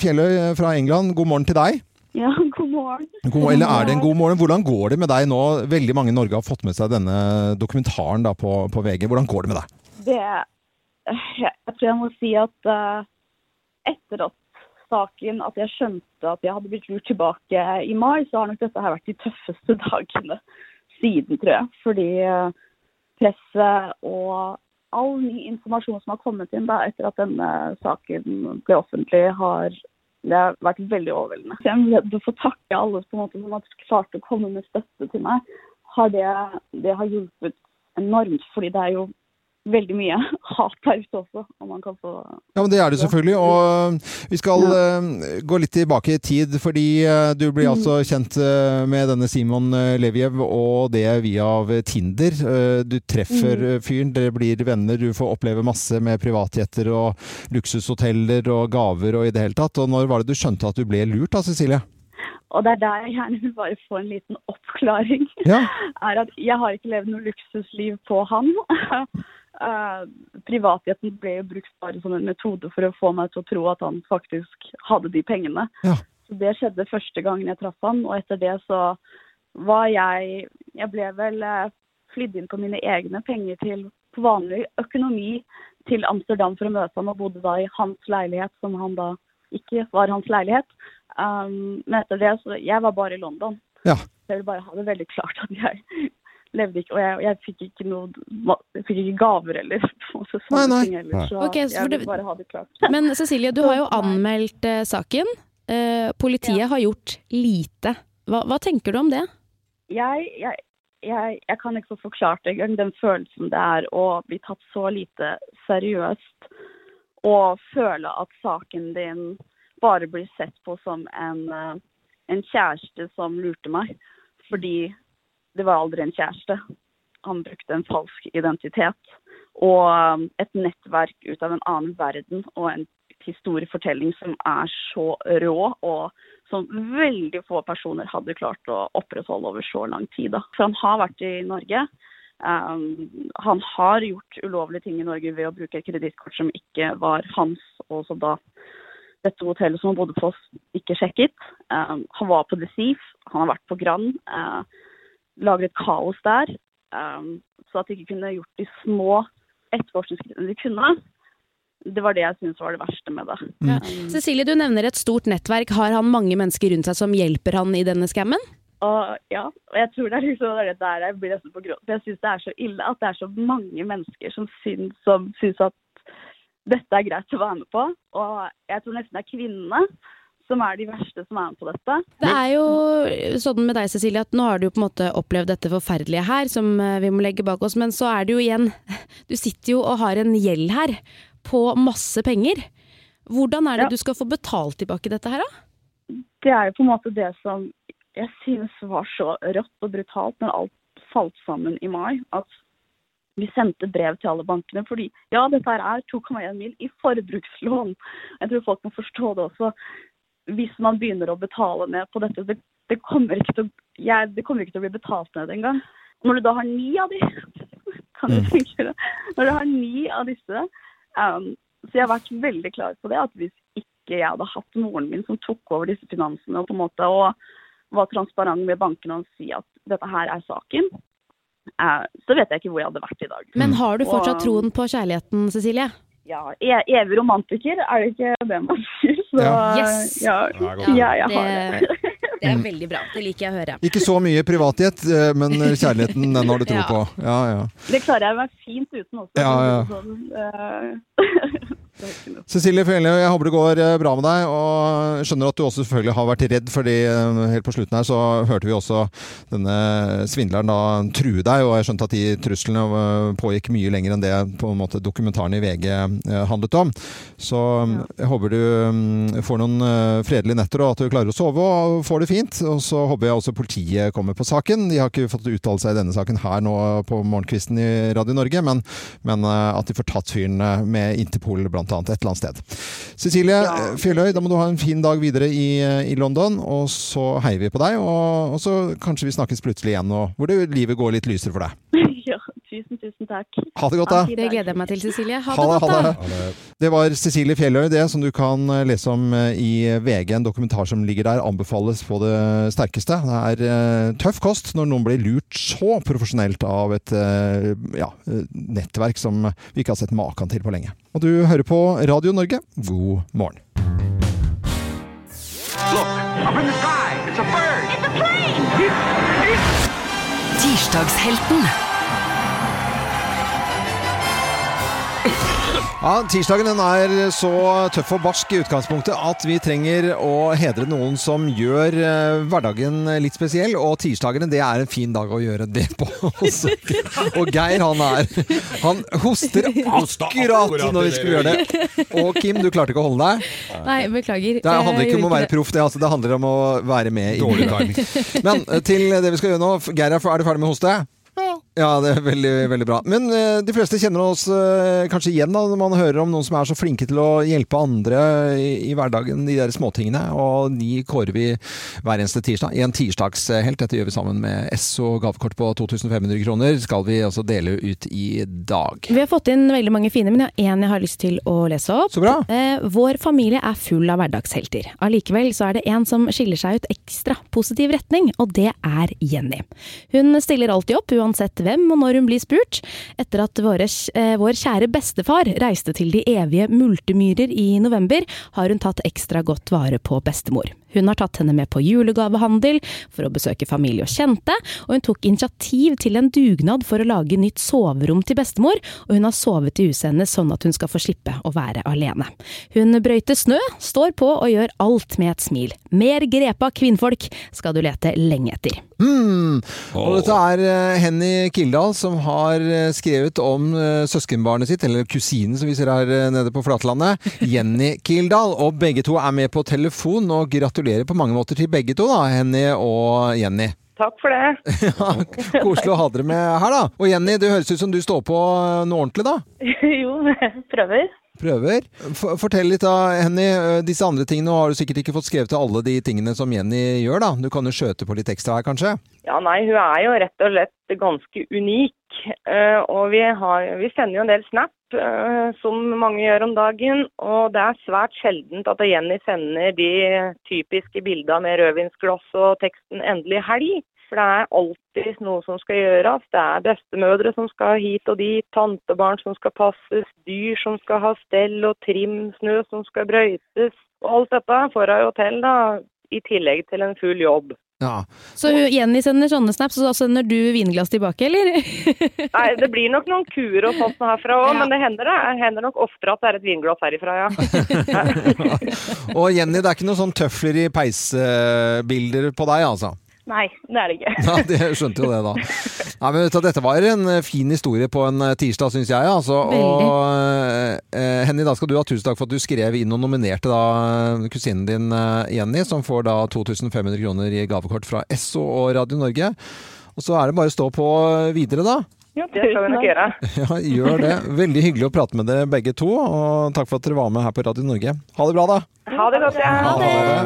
Fjelløy fra England, god morgen til deg. Ja, god morgen. God, eller er det en god morgen? Hvordan går det med deg nå? Veldig mange i Norge har fått med seg denne dokumentaren da på, på VG. Hvordan går det med deg? Det, jeg tror jeg må si at eh, etter at saken, at jeg skjønte at jeg hadde blitt lurt tilbake i mai, så har nok dette her vært de tøffeste dagene siden, tror jeg. Fordi eh, presset og all ny informasjon som har kommet inn da, etter at denne saken ble offentlig, har det har vært veldig overveldende. Så Jeg vil få takke alle på en måte, som har klart å komme med støtte til meg. Har det, det har hjulpet enormt, fordi det er jo veldig mye hat der ute også. Og man kan få Ja, men Det er det selvfølgelig. Og øh, vi skal øh, gå litt tilbake i tid, fordi øh, du blir altså kjent øh, med denne Simon øh, Leviev og det via øh, Tinder. Øh, Du treffer øh, fyren, dere blir venner, du får oppleve masse med privatjetter og luksushoteller og gaver og i det hele tatt. Og når var det du skjønte at du ble lurt da, Cecilie? Og det er der jeg gjerne vil bare få en liten oppklaring. Ja. er at Jeg har ikke levd noe luksusliv på han. Eh, Privatjeten ble jo brukt bare som en metode for å få meg til å tro at han faktisk hadde de pengene. Ja. Så Det skjedde første gangen jeg traff han, og etter det så var jeg Jeg ble vel eh, flydd inn på mine egne penger til på vanlig økonomi til Amsterdam for å møte ham, og bodde da i hans leilighet, som han da ikke var hans leilighet. Um, men etter det, så jeg var bare i London. Ja. Så jeg vil bare ha det veldig klart at jeg levde ikke, og jeg, jeg fikk ikke noe, jeg fikk ikke gaver eller på en måte sånne Nei, nei. ting heller, Nei. så Ok, så for jeg det- vil bare ha det klart. Men Cecilie, du har jo anmeldt eh, saken. Eh, politiet har gjort lite. Hva, hva tenker du om det? jeg, jeg, jeg, jeg kan ikke få forklart engang den følelsen det er å bli tatt så lite seriøst og føle at saken din bare blir sett på som en, eh, en kjæreste som lurte meg. Fordi det var aldri en kjæreste. Han brukte en falsk identitet. Og eh, et nettverk ut av en annen verden og en historiefortelling som er så rå og som veldig få personer hadde klart å opprettholde over så lang tid. Da. For han har vært i Norge. Um, han har gjort ulovlige ting i Norge ved å bruke et kredittkort som ikke var hans, og som da dette hotellet som han bodde på, ikke sjekket. Um, han var på The Thief, han har vært på Grand, uh, lagret kaos der. Um, så at de ikke kunne gjort de små etterforskningsskrittene de kunne, det var det jeg syntes var det verste med det. Ja. Um, Cecilie, du nevner et stort nettverk. Har han mange mennesker rundt seg som hjelper han i denne skammen? Og ja, og jeg tror det er liksom det er det der jeg blir nesten på gråt. For jeg syns det er så ille at det er så mange mennesker som syns, som syns at dette er greit å være med på. Og jeg tror nesten det er kvinnene som er de verste som er med på dette. Det er jo sånn med deg, Cecilie, at nå har du jo på en måte opplevd dette forferdelige her, som eh, vi må legge bak oss, men så er det jo igjen Du sitter jo og har en gjeld her på masse penger. Hvordan er det Ja. du skal få betalt tilbake dette her, da? Det er jo på en måte det som jeg syns var så rått og brutalt når alt falt sammen i mai. At vi sendte brev til alle bankene fordi ja, dette her er 2,1 mil i forbrukslån. Jeg tror folk må forstå det også. Hvis man begynner å betale ned på dette, det, det, kommer, ikke til, å- jeg, det kommer ikke til å bli betalt ned engang. Når du da har ni av de, kan du tenke deg, når du har ni av disse um, Så jeg har vært veldig klar på det, at hvis ikke jeg hadde hatt moren min som tok over disse finansene og på en måte og var transparent med bankene og si at dette her er saken, eh, så vet jeg ikke hvor jeg hadde vært i dag. Men har du fortsatt Wow. troen på kjærligheten, Cecilie? ja, e evig romantiker, er det ikke det man sier? Så Ja. Yes. ja, Ja, det er godt. ja, jeg har det. det, det er veldig bra. Det liker jeg å høre. Ikke så mye privatjet, eh, men kjærligheten, den har du tro Ja. på. Ja, ja. Det klarer jeg meg fint uten også. Ja, ja. Sånn, eh, det er ikke noe. Cecilie Fjellø, jeg håper det går eh, bra med deg, og skjønner at du også selvfølgelig har vært redd, fordi eh, helt på slutten her så hørte vi også denne svindleren da true deg, og jeg skjønte at de truslene eh, pågikk mye lenger enn det på en måte dokumentaren i VG eh, handlet om. Så eh, jeg håper du mm, får noen eh, fredelige netter, og at du klarer å sove og får det fint. Og så håper jeg også politiet kommer på saken. De har ikke fått uttale seg i denne saken her nå på morgenkvisten i Radio Norge, men men eh, at de får tatt fyren eh, med Interpol blant annet et eller annet sted. Cecilie Ja. eh, Fjelløy, da må du ha en fin dag videre i, eh, i London, og så heier vi på deg. Og, og så kanskje vi snakkes plutselig igjen, og hvor det, livet går litt lysere for deg. ja, tusen, tusen takk. Ha det godt, da! Det gleder jeg meg til, Cecilie. Ha Ha det det, godt, ha da. det. Det var Cecilie Fjelløy, det som du kan eh, lese om eh, i VG. En dokumentar som ligger der, anbefales på det sterkeste. Det er eh, tøff kost når noen blir lurt så profesjonelt av et eh, ja, eh, nettverk som vi ikke har sett maken til på lenge. Og du hører på Radio Norge, god morgen. Tirsdagshelten. Ja, Tirsdagen den er så tøff og barsk i utgangspunktet at vi trenger å hedre noen som gjør eh, hverdagen litt spesiell. Og tirsdagene det er en fin dag å gjøre det på. også. og Geir han er Han hoster Hosta akkurat akkurat når vi i det skulle gjøre det. Og Kim, du klarte ikke å holde deg. Nei, beklager. Det handler Jeg ikke om å gjorde være det. proff, det, altså, det handler om å være med. i Dårlig timing. men eh, til det vi skal gjøre nå. F- Geir, er f- er du ferdig med å hoste? Ja, det er veldig, veldig bra. Men eh, de fleste kjenner oss eh, kanskje igjen da, når man hører om noen som er så flinke til å hjelpe andre i, i hverdagen, de der småtingene. Og de kårer vi hver eneste tirsdag. En tirsdagshelt. Dette gjør vi sammen med S og gavekort på 2500 kroner. Skal vi altså dele ut i dag. Vi har fått inn veldig mange fine, men jeg har én jeg har lyst til å lese opp. Så bra. Eh, vår familie er full av hverdagshelter. Allikevel så er det en som skiller seg ut ekstra positiv retning, og det er Jenny. Hun stiller alltid opp, uansett hvem og når hun blir spurt, etter at våre, eh, vår kjære bestefar reiste til de evige multemyrer i november, har hun tatt ekstra godt vare på bestemor. Hun har tatt henne med på julegavehandel for å besøke familie og kjente, og hun tok initiativ til en dugnad for å lage nytt soverom til bestemor, og hun har sovet i huset hennes sånn at hun skal få slippe å være alene. Hun brøyter snø, står på og gjør alt med et smil. Mer grepa kvinnfolk skal du lete lenge etter. Hmm. Og dette er eh, Henny Kildahl som har eh, skrevet om eh, søskenbarnet sitt, eller kusinen som vi ser her eh, nede på flatlandet, Jenny Kildahl. Og begge to er med på telefon, og gratulerer på mange måter til begge to, da, Henny og Jenny. Takk for det. Ja, Koselig å ha dere med her, da. Og Jenny, det høres ut som du står på eh, noe ordentlig, da? jo, prøver. Prøver. F fortell litt da, Henny. eh, Disse andre tingene har du sikkert ikke fått skrevet til alle de tingene som Jenny gjør, da. Du kan jo skjøte på litt ekstra her, kanskje? Ja, nei, hun er jo rett og slett ganske unik. Eh, og vi, har, vi sender jo en del snap, eh, som mange gjør om dagen. Og det er svært sjeldent at Jenny sender de typiske bildene med rødvinsglass og teksten 'endelig helg'. For det er alltid noe som skal gjøres. Det er bestemødre som skal hit og dit, tantebarn som skal passes, dyr som skal ha stell og trim, snø som skal brøytes. Og alt dette får hun jo til, da, i tillegg til en full jobb. Ja. Så hun, Jenny sender sånne snaps, og da sender du vinglass tilbake, eller? Nei, det blir nok noen kuer og sånt herfra òg, Ja. men det hender, det hender nok oftere at det er et vinglass herifra, ja. Og Jenny, det er ikke noen sånn tøfler i peisbilder på deg, altså? Nei, det er det ikke. Ja, det jeg skjønte jo det, da. Nei, men vet du, Dette var en eh, fin historie på en eh, tirsdag, syns jeg. Altså. Og eh, Henny, da skal du ha tusen takk for at du skrev inn og nominerte da eh, kusinen din eh, Jenny, som får da 2500 kroner i gavekort fra Esso og Radio Norge. Og så er det bare å stå på eh, videre, da. Det skal vi nok gjøre. Ja, gjør det. Veldig hyggelig å prate med dere begge to, og takk for at dere var med her på Radio Norge. Ha det bra, da. Ha det godt, ja.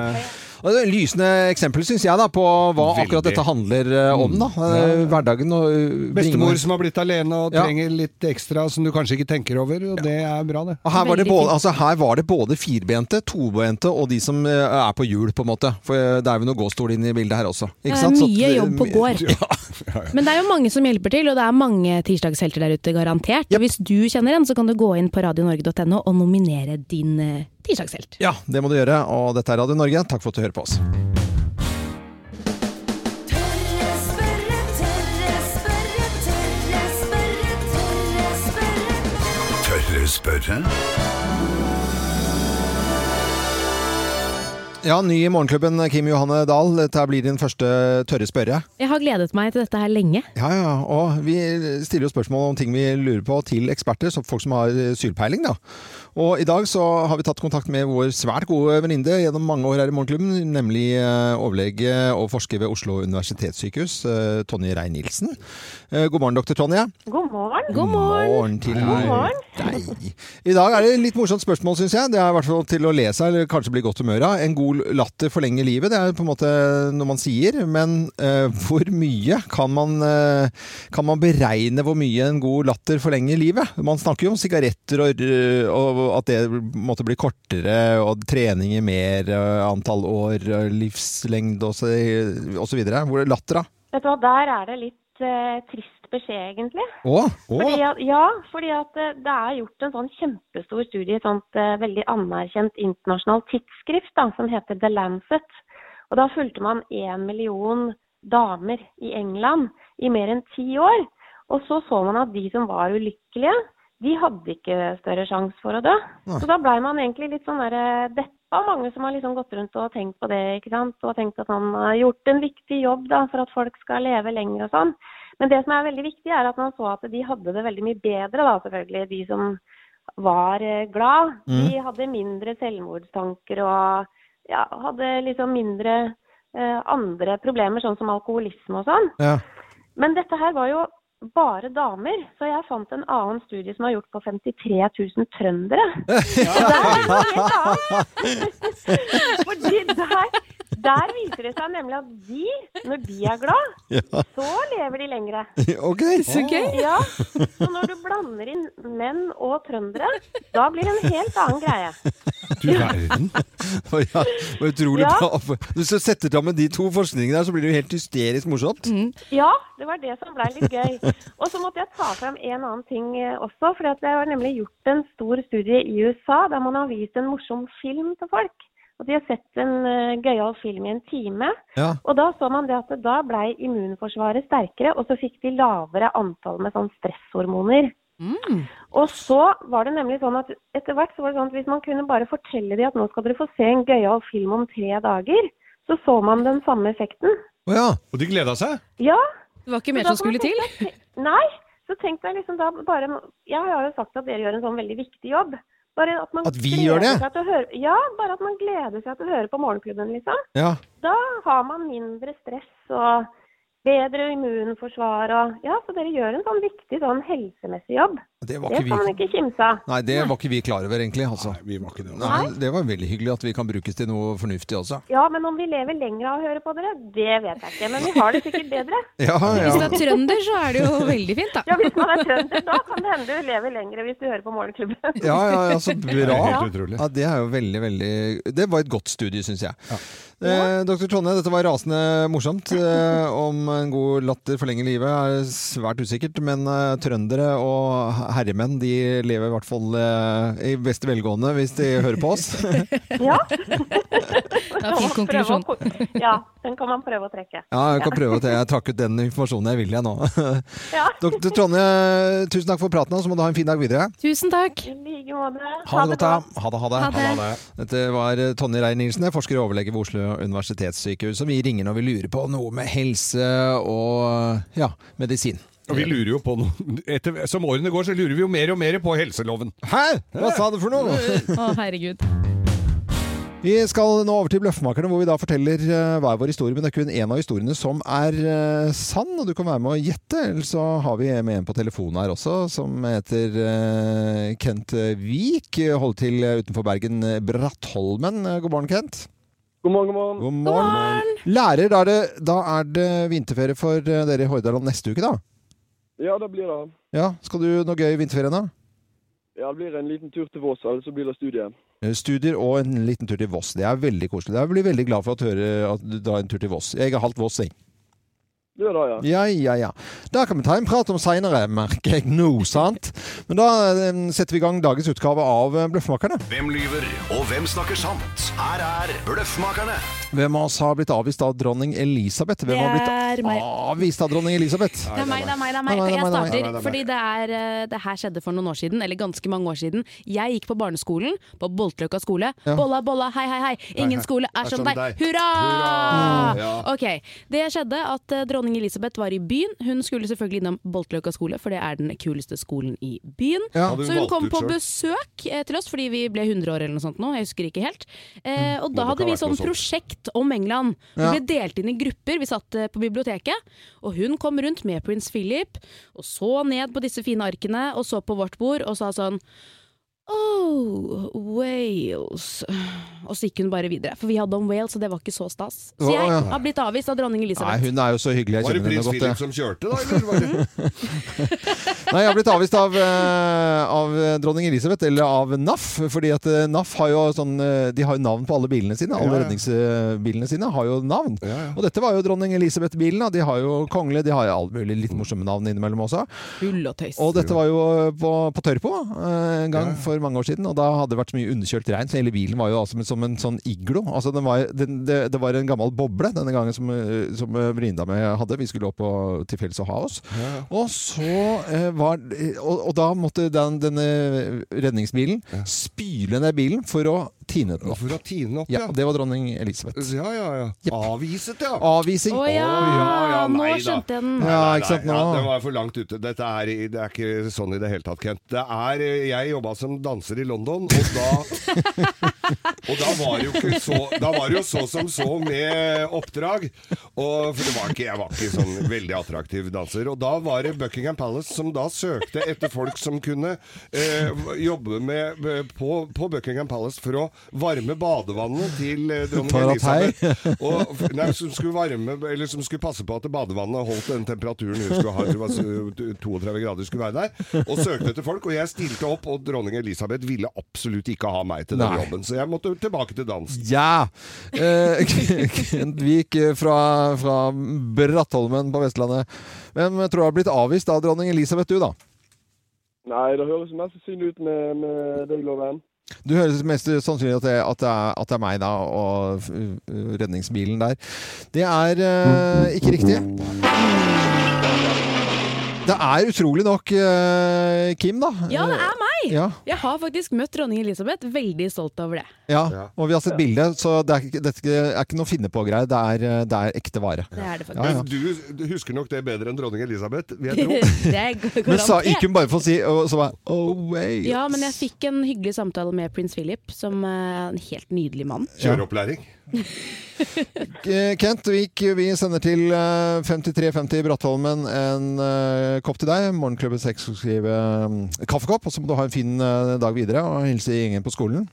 Og det er Lysende eksempel, syns jeg, da, på hva akkurat Veldig. dette handler eh, om. da. Mm. Eh, Hverdagen og eh, Bestemor bringe- som har blitt alene og Ja. trenger litt ekstra som du kanskje ikke tenker over, og det er bra, det. Og her var, det Veldig både, altså her var det både firbente, tobente og de som eh, er på hjul, på en måte. For eh, det er jo noe gåstol inne i bildet her også. Ikke Det er sant? Så at- mye jobb på gård. Ja. Men det er jo mange som hjelper til, og det er mange tirsdagshelter der ute, garantert. Og Hvis du kjenner en, så kan du gå inn på radionorge.no og nominere din eh, tirsdagshelt. ja, det må du gjøre. Og dette er Radio Norge. Takk for at du hører på oss. Tørre spørre, tørre spørre, tørre spørre, tørre spørre. Tørre spørre? Ja, ny i Morgenklubben, Kim Johanne Dahl. Dette blir din første tørre spørre. Jeg har gledet meg til dette her lenge. Ja, ja. Og vi stiller jo spørsmål om ting vi lurer på til eksperter, så folk som har eh, sylpeiling, da. Og i dag så har vi tatt kontakt med vår svært gode venninne gjennom mange år her i Morgenklubben, nemlig eh, overlege og forsker ved Oslo universitetssykehus, eh, Tonje Rein-Nilsen. Eh, God morgen, doktor Tonje. God morgen. God morgen! til deg. I dag er det et litt morsomt spørsmål, syns jeg. Det er i hvert fall til å le seg, eller kanskje bli godt humør av. En god latter forlenger livet, det er på en måte noe man sier. Men eh, hvor mye kan man, eh, kan man beregne hvor mye en god latter forlenger livet? Man snakker jo om sigaretter og, eh, og at det måtte bli kortere, og trening i mer, eh, antall år, eh, livslengde og så og så videre. Hvor er latter, da? Vet du hva, der er det litt eh, trist beskjed, egentlig. Å, Fordi at, ja, fordi at eh, det er gjort en sånn kjempestor studie i et sånt eh, veldig anerkjent internasjonalt tidsskrift da, som heter The Lancet. Og da fulgte man én million damer i England i mer enn ti år. Og så så man at de som var ulykkelige, de hadde ikke større sjanse for å dø. Nei. Så da blei man egentlig litt sånn derre deppa. Mange som har liksom gått rundt og tenkt på det, ikke sant. Og tenkt at man har gjort en viktig jobb da, for at folk skal leve lenger og sånn. Men det som er veldig viktig, er at man så at de hadde det veldig mye bedre, da selvfølgelig. De som var eh, glad. De hadde mindre selvmordstanker og ja, hadde liksom mindre eh, andre problemer, sånn som alkoholisme og sånn. ja. Men dette her var jo bare damer, så jeg fant en annen studie som er gjort på 53 000 trøndere. Og der er det noe helt annet. Fordi der, der viser det seg nemlig at de, når de er glad, Ja. så lever de lengre. Ok. Ja, så når du blander inn menn og trøndere, da blir det en helt annen greie. Du verden. Ja, det var utrolig Ja. bra. Hvis du setter sammen de to forskningene der, så blir det jo helt hysterisk morsomt. Ja, det var det som blei litt gøy. Og så måtte jeg ta frem en annen ting eh, også. For det var nemlig gjort en stor studie i USA der man har vist en morsom film til folk. Og de har sett en eh, gøyal film i en time. Ja. Og da så man det at da blei immunforsvaret sterkere, og så fikk de lavere antall med sånn stresshormoner. Og så var det nemlig sånn at etter hvert så var det sånn at hvis man kunne bare fortelle de at nå skal dere få se en gøyal film om tre dager, så så man den samme effekten. Å ja. Og de gleda seg. Ja, Det var ikke men mer da som kan man skulle til. tenke at- Nei. Så tenk deg liksom da bare Jeg har jo sagt at dere gjør en sånn veldig viktig jobb. Bare at man At vi gleder gjør det? Seg til å høre, ja, bare at man gleder seg til å høre på Morgenklubben, liksom. ja. Da har man mindre stress og bedre immunforsvar og Ja, så dere gjør en sånn viktig sånn helsemessig jobb. Det var Det ikke skal man vi ikke kimse av. Nei, det var ikke vi klar over, egentlig. Altså. Nei, vi var ikke det. Nei, det var veldig hyggelig at vi kan brukes til noe fornuftig også. Ja, men om vi lever lenger av å høre på dere, det vet jeg ikke. Men vi har det sikkert bedre. Ja, Hvis du ja. er trønder, så er det jo veldig fint, da. Ja, hvis man er trønder, da kan det hende du lever lenger hvis du hører på Morgenklubben. Ja, ja, ja, så Det bra. er helt utrolig. Ja, det er jo veldig, veldig Det var et godt studie, syns jeg. Eh, Dr. Tonje, dette var rasende morsomt. Eh, om en god latter forlenger livet er svært usikkert, men eh, trøndere og herremenn de lever i hvert fall eh, i beste velgående hvis de hører på oss. Ja. Det er en fin konklusjon. Ja, den kan man prøve å trekke. Ja, jeg kan prøve at jeg trakk ut den informasjonen jeg vil jeg nå. Ja. Dr. Tonje, tusen takk for praten, og så må du ha en fin dag videre. Tusen takk. I like måte. Ha det godt, da. Ha det, ha det. Ha det. Ja, det. Dette var eh, Tonje Reier-Nielsen, jeg er forsker og overlege ved Oslo universitetssykehus. Som vi ringer når vi lurer på noe med helse og ja, medisin. Og vi lurer jo på noe Etter, Som årene går, så lurer vi jo mer og mer på helseloven. Hæ? Hva sa du for noe? Å, herregud. Vi skal nå over til Bløffmakerne, hvor vi da forteller eh, hver vår historie. Men det er kun én av historiene som er eh, sann, og du kan være med å gjette. Eller så har vi med en på telefonen her også, som heter eh, Kent Vik. Holder til utenfor Bergen, eh, Brattholmen. Eh, God morgen, Kent. God morgen, god morgen. God morgen. Lærer, da er det, da er det vinterferie for eh, dere i Hordaland neste uke, da? Ja, det blir det. Ja, Skal du noe gøy i vinterferien, da? Ja, det blir en liten tur til Vås, eller så blir det studie. Eh, studier og en liten tur til Voss. Det er veldig koselig. Jeg blir veldig glad for å høre at du drar en tur til Voss. Jeg er halvt vossing. Det gjør det, ja. Ja, ja, ja. Det kan vi ta en prat om seinere, merker jeg nå, sant? Men da eh, setter vi i gang dagens utgave av eh, Bløffmakerne. Hvem lyver, og hvem snakker sant? Her er Bløffmakerne. Hvem av oss har blitt avvist av dronning Elisabeth? Hvem har Det er blitt meg. avvist av dronning Elisabeth? Det er meg, det er meg. det er Nei, meg. Og nei, nei, jeg nei, nei, nei, nei. starter fordi det, er, eh, det her skjedde for noen år siden, eller ganske mange år siden. Jeg gikk på barneskolen på Boltløkka skole. Ja. Bolla, bolla, hei, hei, hei. Ingen skole er som deg. Hurra! Hurra! Ja. Ok, Det skjedde at eh, dronning Elisabeth var i byen. Hun skulle selvfølgelig innom Boltløkka skole, for det er den kuleste skolen i byen. Ja. Hadde Så hun valgt kom ut på selv? besøk eh, til oss fordi vi ble 100 år eller noe sånt nå, jeg husker ikke helt. Eh, og det da hadde kan ha vi vært noe sånn sånt. prosjekt om England. Vi Ja. ble delt inn i grupper, vi satt eh, på biblioteket, og hun kom rundt med prins Philip, og så ned på disse fine arkene, og så på vårt bord og sa sånn Oh, Wales Og så gikk hun bare videre, for vi hadde om Wales, og det var ikke så stas. Så Å, jeg ja. har blitt avvist av dronning Nei, Elisabeth. hun er jo så hyggelig. Jeg Var det prins kjenner henne godt. Philip jeg. som kjørte, da? Eller var det Nei, jeg har blitt avvist av, eh, av dronning Elisabeth, eller av NAF. Fordi at eh, NAF har jo sånn eh, De har jo navn på alle bilene sine. Alle Ja, ja. redningsbilene sine har jo navn. Ja, ja. Og dette var jo dronning Elisabeth-bilen. da. De har jo kongelige, de har jo alle mulige Mm. litt morsomme navn innimellom også. Hull og tøys. Og dette var jo på, på Tørpo eh, en gang for mange år siden, og da hadde det vært så mye underkjølt regn, så hele bilen var jo altså, som- som en sånn iglo. Altså, den var, den, det, det var en gammel boble denne gangen som, eh, som eh, Brinda med hadde. Vi skulle opp på, til fjells og ha oss. Og så eh, var og, og da måtte den, denne redningsbilen spyle ned bilen for å tine den opp. For å tine opp, Ja, ja. det var dronning Elisabeth. Ja, ja, ja. Avviset, ja. Avvising. Å ja, Å, ja, ja, nå nei da. skjønte jeg den. Mm. Ja, Nei, nei, ikke sant, nei, nå- Ja, det var for langt ute. Dette er, det er ikke eh, sånn i det hele tatt, Kent. Det er, jeg jobba som danser i London, og da Og da var det jo ikke så Da var det jo så som så med oppdrag. Og for det var ikke, jeg var ikke sånn veldig attraktiv danser. Og da var det Buckingham Palace som da søkte etter folk som kunne eh, jobbe med, eh, på, på Buckingham Palace for å varme badevannet til eh, dronning Taratei. Elisabeth. Og, f- nei, som, skulle varme, eller som skulle passe på at badevannet holdt den temperaturen hun skulle ha. Det var så- eh, 32 grader skulle være der. Og søkte etter folk. Og jeg stilte opp, og dronning Elisabeth ville absolutt ikke ha meg til den Nei. jobben. Så jeg måtte tilbake til dans. Ja! Eh, vi gikk eh, fra, fra Brattholmen på Vestlandet. Hvem tror du har blitt avvist av dronning Elisabeth, du, da? Nei, det høres mest sannsynlig ut med, med deg, Loven. Du høres mest sannsynlig at det, at, det er, at det er meg, da, og uh, redningsbilen der. Det er eh, ikke riktig. Det er utrolig nok eh, Kim, da. Ja, det er meg! Ja. Jeg har faktisk møtt dronning Elisabeth. Veldig stolt over det. Ja, og vi har sett bilde, så det er, ikke- dette er ikke noe finne-på-greier. Det, er, eh, det er ekte vare. Det er det faktisk. Ja, ja. Men du, du husker nok det bedre enn dronning Elisabeth, vil jeg tro. det er garantert. Men sa, gikk hun bare for å si og så bare, oh, wait. Ja, men jeg fikk en hyggelig samtale med prins Philip, som eh, en helt nydelig mann. Kjøreopplæring. Eh, Kent Vik, vi sender til eh, 5350 Brattholmen en eh, kopp til deg. Morgenklubben 6 skal skrive eh, kaffekopp, og så må du ha en fin eh, dag videre. Og hilse gjengen på skolen.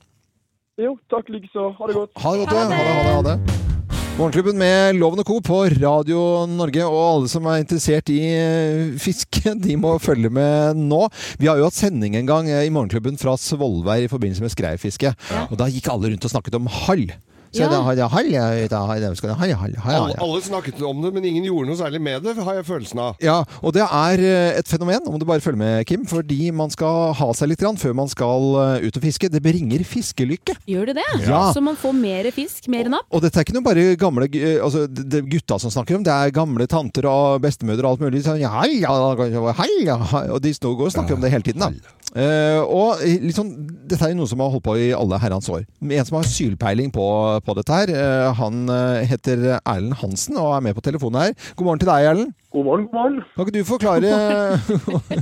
Jo, takk likeså. Ha det godt. Ha det godt. ja. Ha det, ha det, ha det. Morgenklubben med Loven og Co. på Radio Norge, og alle som er interessert i eh, fiske, de må følge med nå. Vi har jo hatt sending en gang eh, i Morgenklubben fra Svolvær i forbindelse med skreifiske, og da gikk alle rundt og snakket om hall. Så Ja. da har jeg hall, jeg da har jeg skal jeg ha hall, hall, hall, Alle, alle snakket om det, men ingen gjorde noe særlig med det, har jeg følelsen av. Ja, og det er eh, et fenomen, om du bare følger med, Kim, fordi man skal ha seg litt grann før man skal eh, ut og fiske. Det bringer fiskelykke. Gjør det det? Ja. Så man får mer fisk, mer napp? Og dette er ikke noe bare gamle gu- eh, altså, det det er gutta som snakker om, det er gamle tanter og bestemødre og alt mulig. Sånn, ja, ja, ja, hei, ja, hei. Og de står og går og snakker om det hele tiden. da. Eh, og litt sånn, Dette er jo noe som har holdt på i alle herrens år. En som har sylpeiling på, på dette her, eh, han eh, heter Erlend Hansen og er med på telefonen her. God morgen til deg, Erlend. God morgen, god morgen. Kan ikke du forklare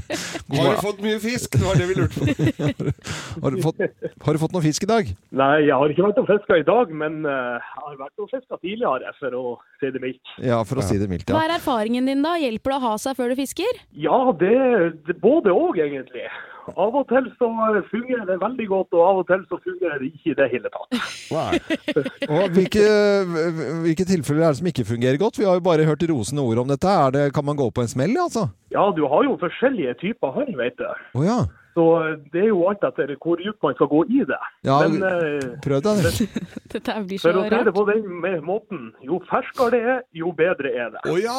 Har du fått mye fisk? Det var det vi lurte på. Har du, fått, har du fått noe fisk i dag? Nei, jeg har ikke vært og fiska i dag, men eh, jeg har vært og fiska tidligere, for å si det mildt. Ja, for å si det mildt. Hva Ja. er erfaringen din da? Hjelper det å ha seg før du fisker? Ja, det, det både òg, egentlig. Av og til så fungerer det veldig godt, og av og til så fungerer det ikke i det hele tatt. Og hvilke, hvilke tilfeller er det som ikke fungerer godt? Vi har jo bare hørt rosende ord om dette. Er det, kan man gå på en smell, altså? Ja, du har jo forskjellige typer hall, vet du. Å ja. Så eh, det er jo alt etter hvor dypt man skal gå i det. Ja, Men eh, Prøv deg, det. Dette blir så for å si det rart. på den me- måten, jo ferskere det er, jo bedre er det. Oh, ja.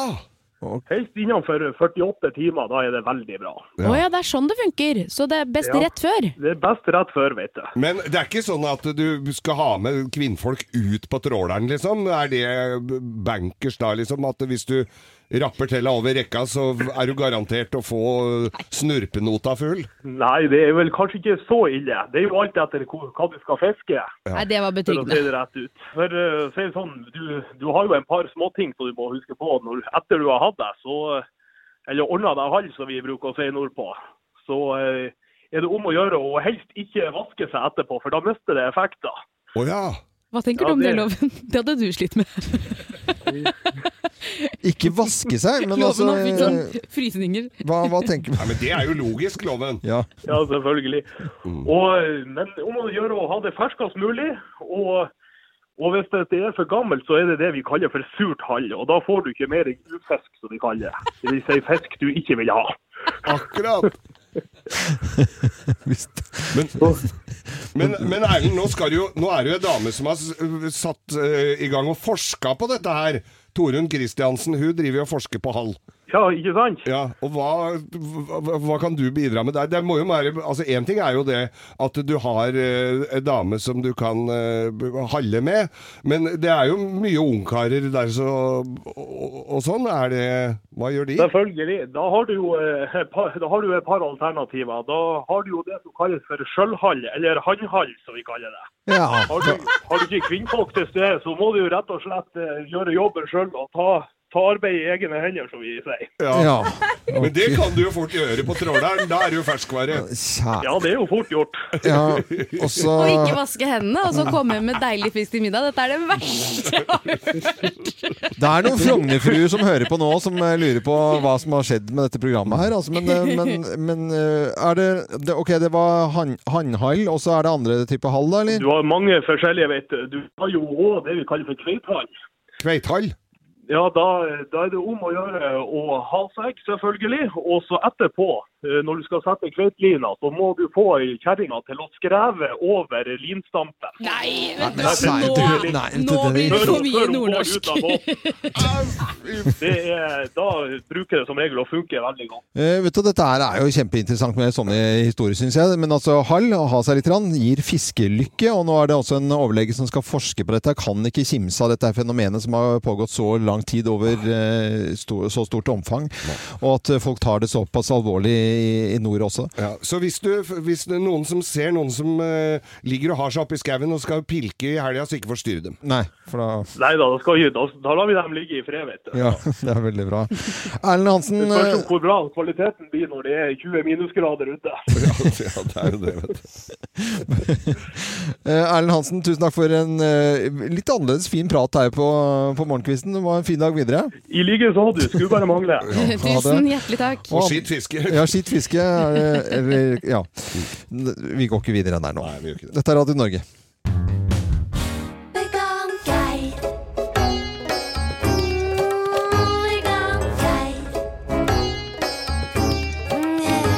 Helst innenfor 48 timer, da er det veldig bra. Å ja. det er sånn det funker. Så det er best Ja. rett før. Det er best rett før, vet du. Men det er ikke sånn at du skal ha med kvinnfolk ut på tråleren, liksom? Er det bankers da, liksom? At hvis du rapper tella over rekka, så er du garantert å få snurpenota full? Nei, det er vel kanskje ikke så ille. Det er jo alt etter hvor- hva du skal fiske. Nei, det var For å si det betryggende. rett ut. For eh, si det sånn, du, du har jo en par småting som du må huske på når, etter du har hatt deg, så eh, Eller ordna deg hall, som vi bruker å si nordpå. Så eh, er det om å gjøre å helst ikke vaske seg etterpå, for da mister det effekter. Å ja. Hva tenker Ja, du om det, det- Loven? Det hadde du slitt med. Ikke vaske seg, men Loven altså eh, har fikk sånn frysninger. hva, hva tenker Nei, men det er jo Mm. logisk, loven. Ja. Ja, selvfølgelig. Og, men om å gjøre å ha det ferskest mulig. Og, og hvis det er for gammelt, så er det det vi kaller for surt hall. Og da får du ikke mer enn ufisk, som vi kaller det. Det vil si fisk du ikke vil ha. Akkurat. Men, men, men Erlend, nå, skal du, jo- nå er det jo en dame som har s- satt eh, i gang og forska på dette her. Torunn Kristiansen, hun driver jo og forsker på hall. Ja, ikke sant? Ja, og hva, hva, hva kan du bidra med der? Det må jo være, altså Én ting er jo det at du har eh, en dame som du kan eh, b- halle med, men det er jo mye ungkarer der så, og, og sånn. Er det Hva gjør de? Selvfølgelig. Da har, du jo, eh, et par, da har du et par alternativer. Da har du jo det som kalles for sjølhall, eller handhall, som vi kaller det. Ja. Har du, har du ikke kvinnfolk til stede, så må du jo rett og slett eh, gjøre jobben sjøl og ta ta arbeidet i egne hender, som vi sier. Ja. Men det kan du jo fort gjøre på tråleren. Da er det jo ferskvare. Kjære. Ja, det er jo fort gjort. Ja, og Altså- så Og ikke vaske hendene, og så komme med deilig fisk til middag. Dette er det verste jeg har hørt. Det er noen Frognerfruer som hører på nå, som eh, lurer på hva som har skjedd med dette programmet her. Altså, men, eh, men, men eh, er det, det Ok, det var hann- hannhall, og så er det andre type hall, da, eller? Du har mange forskjellige, vet du. Du har jo òg det vi kaller for kveithall. Kveithall? Ja, da, da er det om å gjøre å ha seg, selvfølgelig. Og så etterpå, eh, når du skal sette kveitelina, så må du få kjerringa til å skreve over linstampen. Nei, vet du, Nei, nå- selvfølgelig. nei, vet du, nå det- blir det Før for hun- mye før hun går nordnorsk. ut av båten. Det er, da bruker det som regel å funke veldig godt. Eh, vet du, Dette her er jo kjempeinteressant med sånne historier, syns jeg. Men altså, hall, å ha seg litt, rann, gir fiskelykke. Og nå er det også en overlege som skal forske på dette. Kan ikke kimse av dette her fenomenet som har pågått så lang tid over eh, sto, så stort omfang. Og at eh, folk tar det såpass alvorlig i, i nord også. Ja, så hvis, du, hvis det er noen som ser noen som eh, ligger og har seg oppi skauen og skal pilke i helga, så ikke forstyrr dem. Nei, for da Nei da, da, skal vi- da, da lar vi dem ligge i fred, vet du. Ja, det er veldig bra. Erlend Hansen Det spørs eh, jo hvor bra kvaliteten blir når det er 20 minusgrader ute. Ja, det er jo det, vet du. eh, Erlend Hansen, tusen takk for en eh, litt annerledes fin prat her på, på morgenkvisten. Det var en fin dag videre. I like så, du. Skulle bare mangle. Tusen hjertelig takk. Og- skitt fiske. Ja, skitt fiske. er det- Eller, ja. Vi går ikke videre enn der nå. Dette er Radio Norge. Vegan-geir. Mm, vegan-geir. Mm, yeah.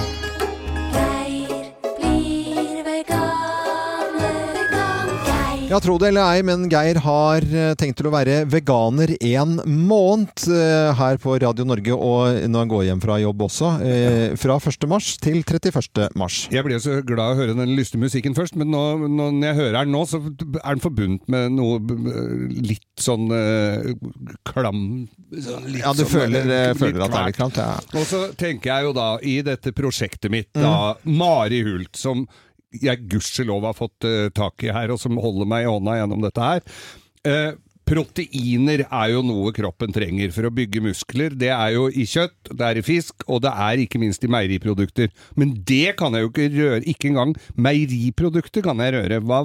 Geir blir veganer. Vegan-geir. Ja, tro det eller ei, men Geir har eh, tenkt til å være veganer en måned eh, her på Radio Norge, og når han går hjem fra jobb også. eh, Fra 1. mars til 31. mars. Jeg ble så glad å høre den lyste musikken først, men nå, nå, når jeg hører den nå, så er den forbundet med noe b- b- litt sånn eh, klam sånn litt Ja, du sånn, føler, eh, eh, føler at det er litt klamt. Ja. Og så tenker jeg jo da, i dette prosjektet mitt, da, Mari Hult, som jeg gudskjelov har fått eh, tak i her, og som holder meg i hånda gjennom dette her. Eh, proteiner er jo noe kroppen trenger for å bygge muskler. Det er jo i kjøtt, det er i fisk, og det er ikke minst i meieriprodukter. Men det kan jeg jo ikke røre, ikke engang meieriprodukter kan jeg røre. Hva,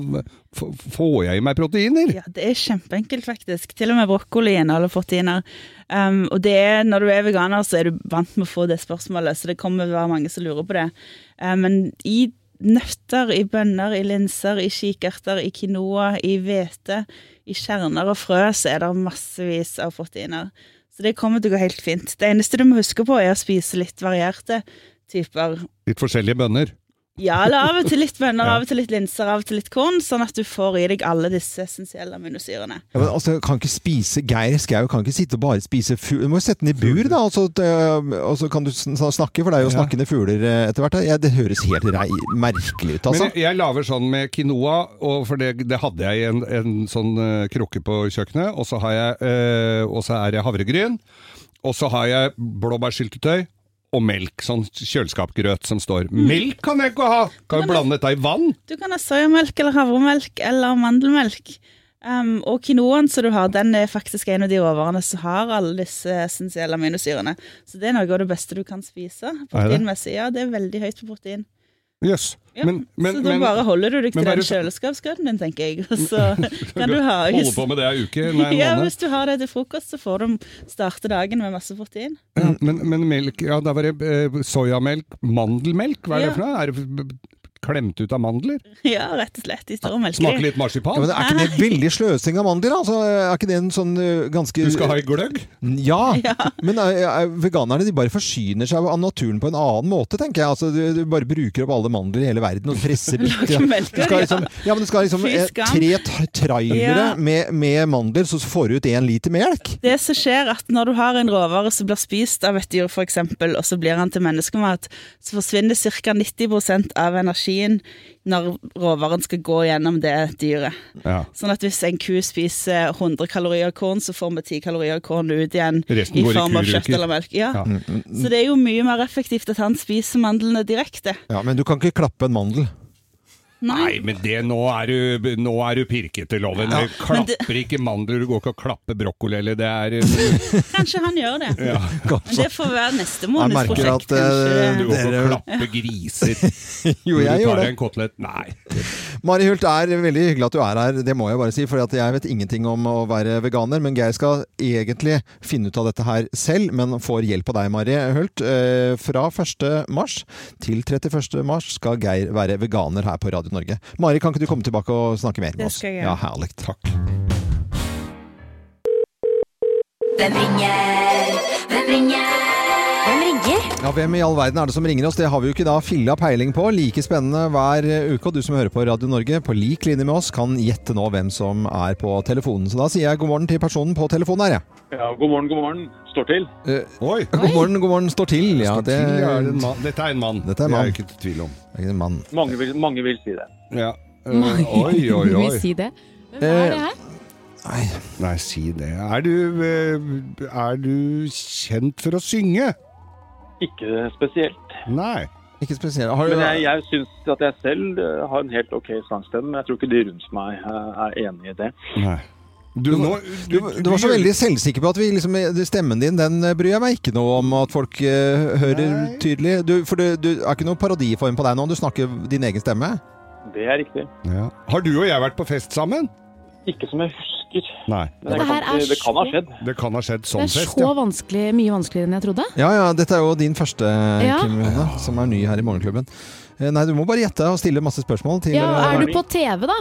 f- får jeg i meg proteiner? Ja, det er kjempeenkelt faktisk. Til og med brokkoli inneholder proteiner. Um, og det er, når du er veganer, så er du vant med å få det spørsmålet, så det kommer til å være mange som lurer på det. Um, men i nøtter, i bønner, i linser, i kikerter, i quinoa, i hvete, i kjerner og frø, så er det massevis av proteiner. Så det kommer til å gå helt fint. Det eneste du må huske på, er å spise litt varierte typer Litt forskjellige bønner. ja, eller av og til litt bønner, Ja. av og til litt linser, av og til litt korn, sånn at du får i deg alle disse essensielle aminosyrene. Ja, men altså, kan ikke spise Geir Skau kan ikke sitte og bare spise fugl. Du må jo sette den i bur, da, og så, eh, og så kan du sn- snakke, for det er jo snakkende fugler eh, etter hvert. da. Ja, det høres helt rei merkelig ut, altså. Men jeg, jeg lager sånn med quinoa, og for det, det hadde jeg i en, en sånn eh, krukke på kjøkkenet. Og så, har jeg, eh, og så er det havregryn. Og så har jeg blåbærsyltetøy og melk. Sånn kjøleskapsgrøt som står. Mm. Melk kan jeg ikke ha! Kan jo blande dette i vann. Du kan ha soyamelk eller havremelk eller mandelmelk. Um, og quinoaen som du har, den er faktisk en av de råvarene som har alle disse essensielle aminosyrene. Så det er noe av det beste du kan spise. Proteinmessig, ja, det er veldig høyt på protein. Jøs. Ja, så da bare holder du deg til den kjøleskapsgrøten din, tenker jeg. Og så kan du ha Holde på med det ei uke? Nei, en ja, måned. hvis du har det til frokost, så får du starte dagen med masse protein. Ja, Mm, men, men melk Ja, der var det eh, soyamelk. Mandelmelk, hva er Ja. det for noe? Er det b- klemt ut av mandler? Ja, rett og slett. De står og melker. Smaker litt marsipan? Ja, men er ikke det veldig sløsing av mandler? da? Altså, er ikke det en sånn eh, ganske Du skal ha i gløgg? Ja, men er, er, veganerne de bare forsyner seg av naturen på en annen måte, tenker jeg. Altså, du, du bare bruker opp alle mandler i hele verden og presser litt. Lager melk, Du skal ja. liksom, ja, men du skal liksom Fy eh, skam. tre t- trailere Ja. med, med mandler, så får du ut én liter melk. Det som skjer at når du har en råvare som blir spist av et dyr, f.eks., og så blir han til menneskemat, så forsvinner ca. 90 av energien når råvaren skal gå gjennom det dyret. Ja. Sånn at hvis en ku spiser 100 kalorier korn, så får vi 10 kalorier korn ut igjen Resten i går i form av kjøtt kuruker. eller melk. Ja. Ja. Mm, mm. Så det er jo mye mer effektivt at han spiser mandlene direkte. Ja, men du kan ikke klappe en mandel. Nei, men det, nå, er du, nå er du pirkete, Loven. Ja. Du klapper ikke mandler, du går ikke og klapper brokkoli, eller det er eh, Kanskje han gjør det. Ja. Men det får være neste Jeg måneds merker prosjekt. at eh, kanskje. Du går ikke og dere klapper griser. Jo, jeg Når du gjør tar det. deg en kotelett. Nei. Mari Hult, er veldig hyggelig at du er her, det må jeg bare si. For jeg vet ingenting om å være veganer, men Geir skal egentlig finne ut av dette her selv, men får hjelp av deg, Mari Hult. Eh, Fra 1. mars til 31. mars skal Geir være veganer her på Radio Norge. Mari, kan ikke du komme tilbake og snakke mer med Det oss? skal jeg gjøre. Ja, herlig. Takk. Hvem ringer? Hvem ringer? Hvem ringer? Ja, Hvem i all verden er det som ringer oss? Det har vi jo ikke da filla peiling på. Like spennende hver eh, uke. Og du som hører på Radio Norge på lik linje med oss, kan gjette nå hvem som er på telefonen. Så da sier jeg god morgen til personen på telefonen her, jeg. Ja, god morgen, god morgen. Står til. Oi! Eh, God morgen, god morgen, står til. Ja, det, til, ja, er det en mann? Dette er en mann. Dette er Det en er mann. jeg ikke i tvil om. Det er ikke en mann. Mange vil, mange vil si det. Ja. Eh, Mange Oi, oi, oi. vil si det. Men hva Eh, er det her? Eh, Nei, si det. Er du, eh, er du kjent for å synge? Ikke spesielt. Nei. Ikke spesielt. Men jeg, jeg syns at jeg selv eh, har en helt ok sangstemme. men Jeg tror ikke de rundt meg eh, er enig i det. Nei. Du, Du, nå, du, du var så veldig selvsikker på at vi liksom, stemmen din den eh, bryr jeg meg ikke noe om at folk eh, hører tydelig. Du, for du, du er ikke noen parodiform på deg nå, du snakker din egen stemme. Det er riktig. Ja. Har du og jeg vært på fest sammen? Ikke som jeg husker. Nei. Men det, kan, her er det kan ha så- skjedd. Det kan ha skjedd Det sånn er fest, så vanskelig, mye vanskeligere enn jeg trodde. Ja, ja, dette er jo din første, eh, Ja. Kim Rune, som er ny her i Morgenklubben. Eh, Nei, du må bare gjette og stille masse spørsmål til Ja, eh, Er du på TV, da?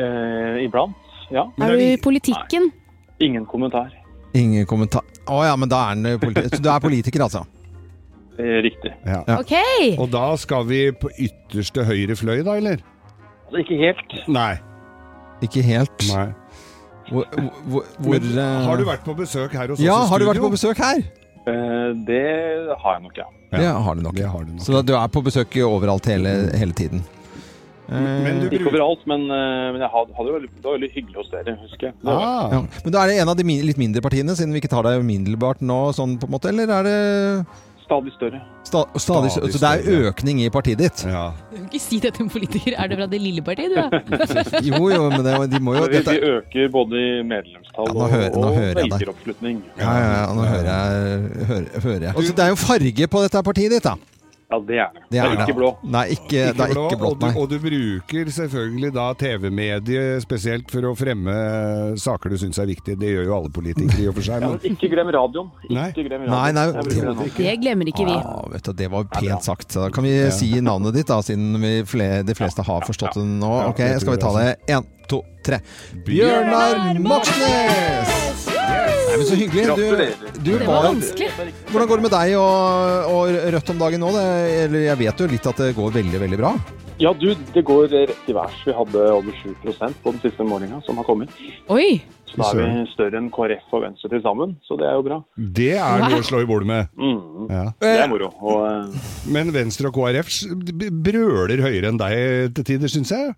Eh, iblant, ja. Er du i politikken? Ingen kommentar. Ingen kommentar. Å ja, men da er han politi Så du er politiker, altså? Eh, riktig. Ja. Ok! Og da skal vi på ytterste høyre fløy, da, eller? Altså, ikke helt. Nei. Ikke helt. Nei. Hvor, hvor, hvor, Men eh, har du vært på besøk her hos Ja, oss i har du vært studio? på besøk her? Eh, det har jeg nok, ja. Det har du nok. Så da, du er på besøk overalt hele, hele tiden? Men Eh, Ikke overalt, men, eh, men jeg hadde, hadde det, veldig, det var veldig hyggelig hos dere, husker jeg. Det var- Ah. Ja. Men da er det en av de min litt mindre partiene, siden vi ikke tar deg umiddelbart nå, sånn på en måte, eller er det Stadig større. sta stadig, Stadig Så det er større. økning i partiet ditt? Du kan ikke si det til en politiker. Er du fra det lille partiet, du? da? Jo, jo, men det, de må jo Så vi, dette, vi øker både i medlemstall nå hører- nå og, og hører jeg deg. velgeroppslutning. ja, ja, ja, nå hører jeg, hører, hører jeg. Altså, Det er jo farge på dette partiet ditt, da. Ja, det er det. Det er det. ikke blå. Nei, ikke, det er ikke blått, og, nei. du, og du bruker selvfølgelig da TV-mediet spesielt for å fremme saker du syns er viktige. Det gjør jo alle politikere i og for seg. Ja, Men men ikke glem radioen. Ikke Nei. glem radioen. Nei, nei, Jeg bruker den nå. Det glemmer ikke vi. Ah, vet du, det var pent sagt. Så Da kan vi si navnet ditt, da, siden vi fle de fleste har forstått det nå. Ok, det tror Skal vi ta det jeg én, to, tre. Bjørnar Moxnes! Nei, men Så hyggelig. Du, du Det var var vanskelig. Hvordan går det med deg og, og Rødt om dagen nå? Det, eller jeg vet jo litt at det går veldig, veldig bra. Ja, du, det går rett i værs. Vi hadde over 7 på den siste målinga som har kommet. Oi! Så da er vi større enn KrF og Venstre til sammen, så det er jo bra. det er noe å slå i bordet med. Mm. Ja. Det er moro. Og, eh, Men Venstre og KrF s- b- brøler høyere enn deg til tider, syns jeg.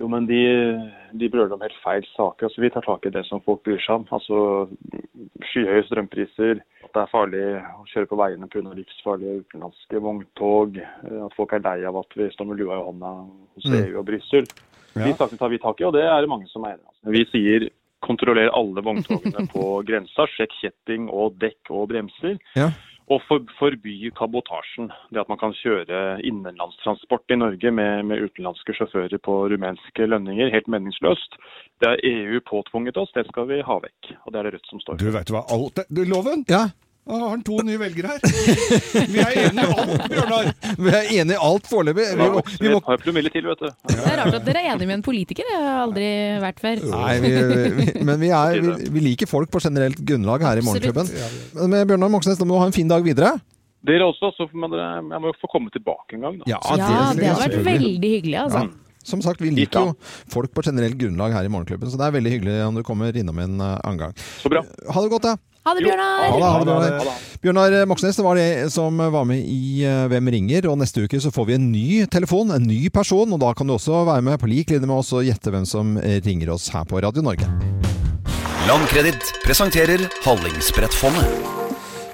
jo, men de, de brøler om helt feil saker. Altså, vi tar tak i det som folk bryr seg om. Altså skyhøye strømpriser, at det er farlig å kjøre på veiene pga. livsfarlige utenlandske vogntog, eh, at folk er lei av at vi står med lua i hånda hos Mm. EU og Brussel. De sakene tar vi tak i, og det er det mange som er enig i. altså. Vi sier kontroller alle vogntogene på grensa, sjekk kjetting og dekk og bremser. Ja. Og for, forby kabotasjen. Det at man kan kjøre innenlandstransport i Norge med, med utenlandske sjåfører på rumenske lønninger, helt meningsløst. Det har EU påtvunget oss, det skal vi ha vekk. Og det er det Rødt som står Du vet hva alt er. Du, Loven? Ja. Nå har han to nye velgere her. Vi er enige om alt, Bjørnar. Vi er enige i alt foreløpig. for. Vi Da må- vokser vi et par promille til, vet du. Det er rart at dere er enige med en politiker. Det har jeg aldri vært før. Nei, vi, vi, men vi, er, vi, vi liker folk på generelt grunnlag her i Morgenklubben. Men med Bjørnar Moxnes, da må du ha en fin dag videre. Dere også, så får man, jeg må jo få komme tilbake en gang. Da. Ja, Ja, det hadde vært veldig hyggelig, altså. Ja. Som sagt, vi liker jo folk på generelt grunnlag her i Morgenklubben, så det er veldig hyggelig om du kommer innom en eh, annen gang. Ha det godt, da. Ha det, Bjørnar! Ha det, ha det, Bjørnar. Bjørnar Moxnes, det var det som var med i eh, Hvem ringer? Og neste uke så får vi en ny telefon, en ny person, og da kan du også være med på lik linje med oss og gjette hvem som ringer oss her på Radio Norge. Landkreditt presenterer Hallingsbrettfondet.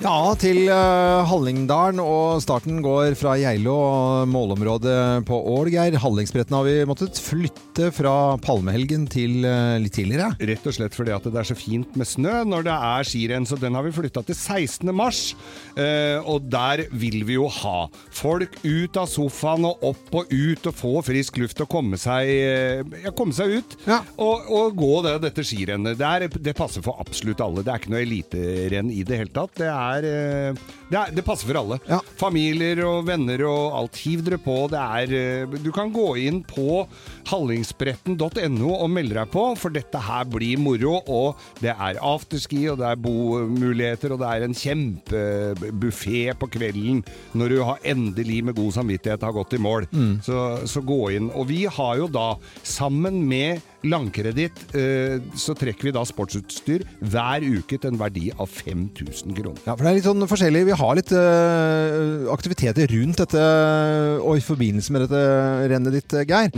Ja, til eh, Hallingdalen, og starten går fra Geilo og målområdet på Ålgeir. Hallingsbretten har vi måttet flytte fra palmehelgen til eh, litt tidligere. Rett og slett fordi at det er så fint med snø når det er skirenn, så den har vi flytta til 16. mars. Eh, og der vil vi jo ha folk ut av sofaen og opp og ut og få frisk luft og komme seg, eh, ja, komme seg ut. Og, og gå det, dette skirennet. Det, er, det passer for absolutt alle. Det er ikke noe eliterenn i det hele tatt. Det, er, eh, det, er, det passer for alle. Familier og venner og alt. Hiv dere på. Det er, eh, du kan gå inn på hallingsbretten.no og melde deg på, for dette her blir moro. Og det er afterski, og det er bomuligheter, og det er en kjempebuffé på kvelden når du har endelig med god samvittighet har gått i mål. Så, så gå inn. Og vi har jo da, sammen med Landkreditt, eh, så trekker vi da sportsutstyr hver uke til en verdi av 5000 kroner. Ja, for det er litt sånn forskjellig. Vi har litt eh, aktiviteter rundt dette og i forbindelse med dette rennet ditt, eh, Geir.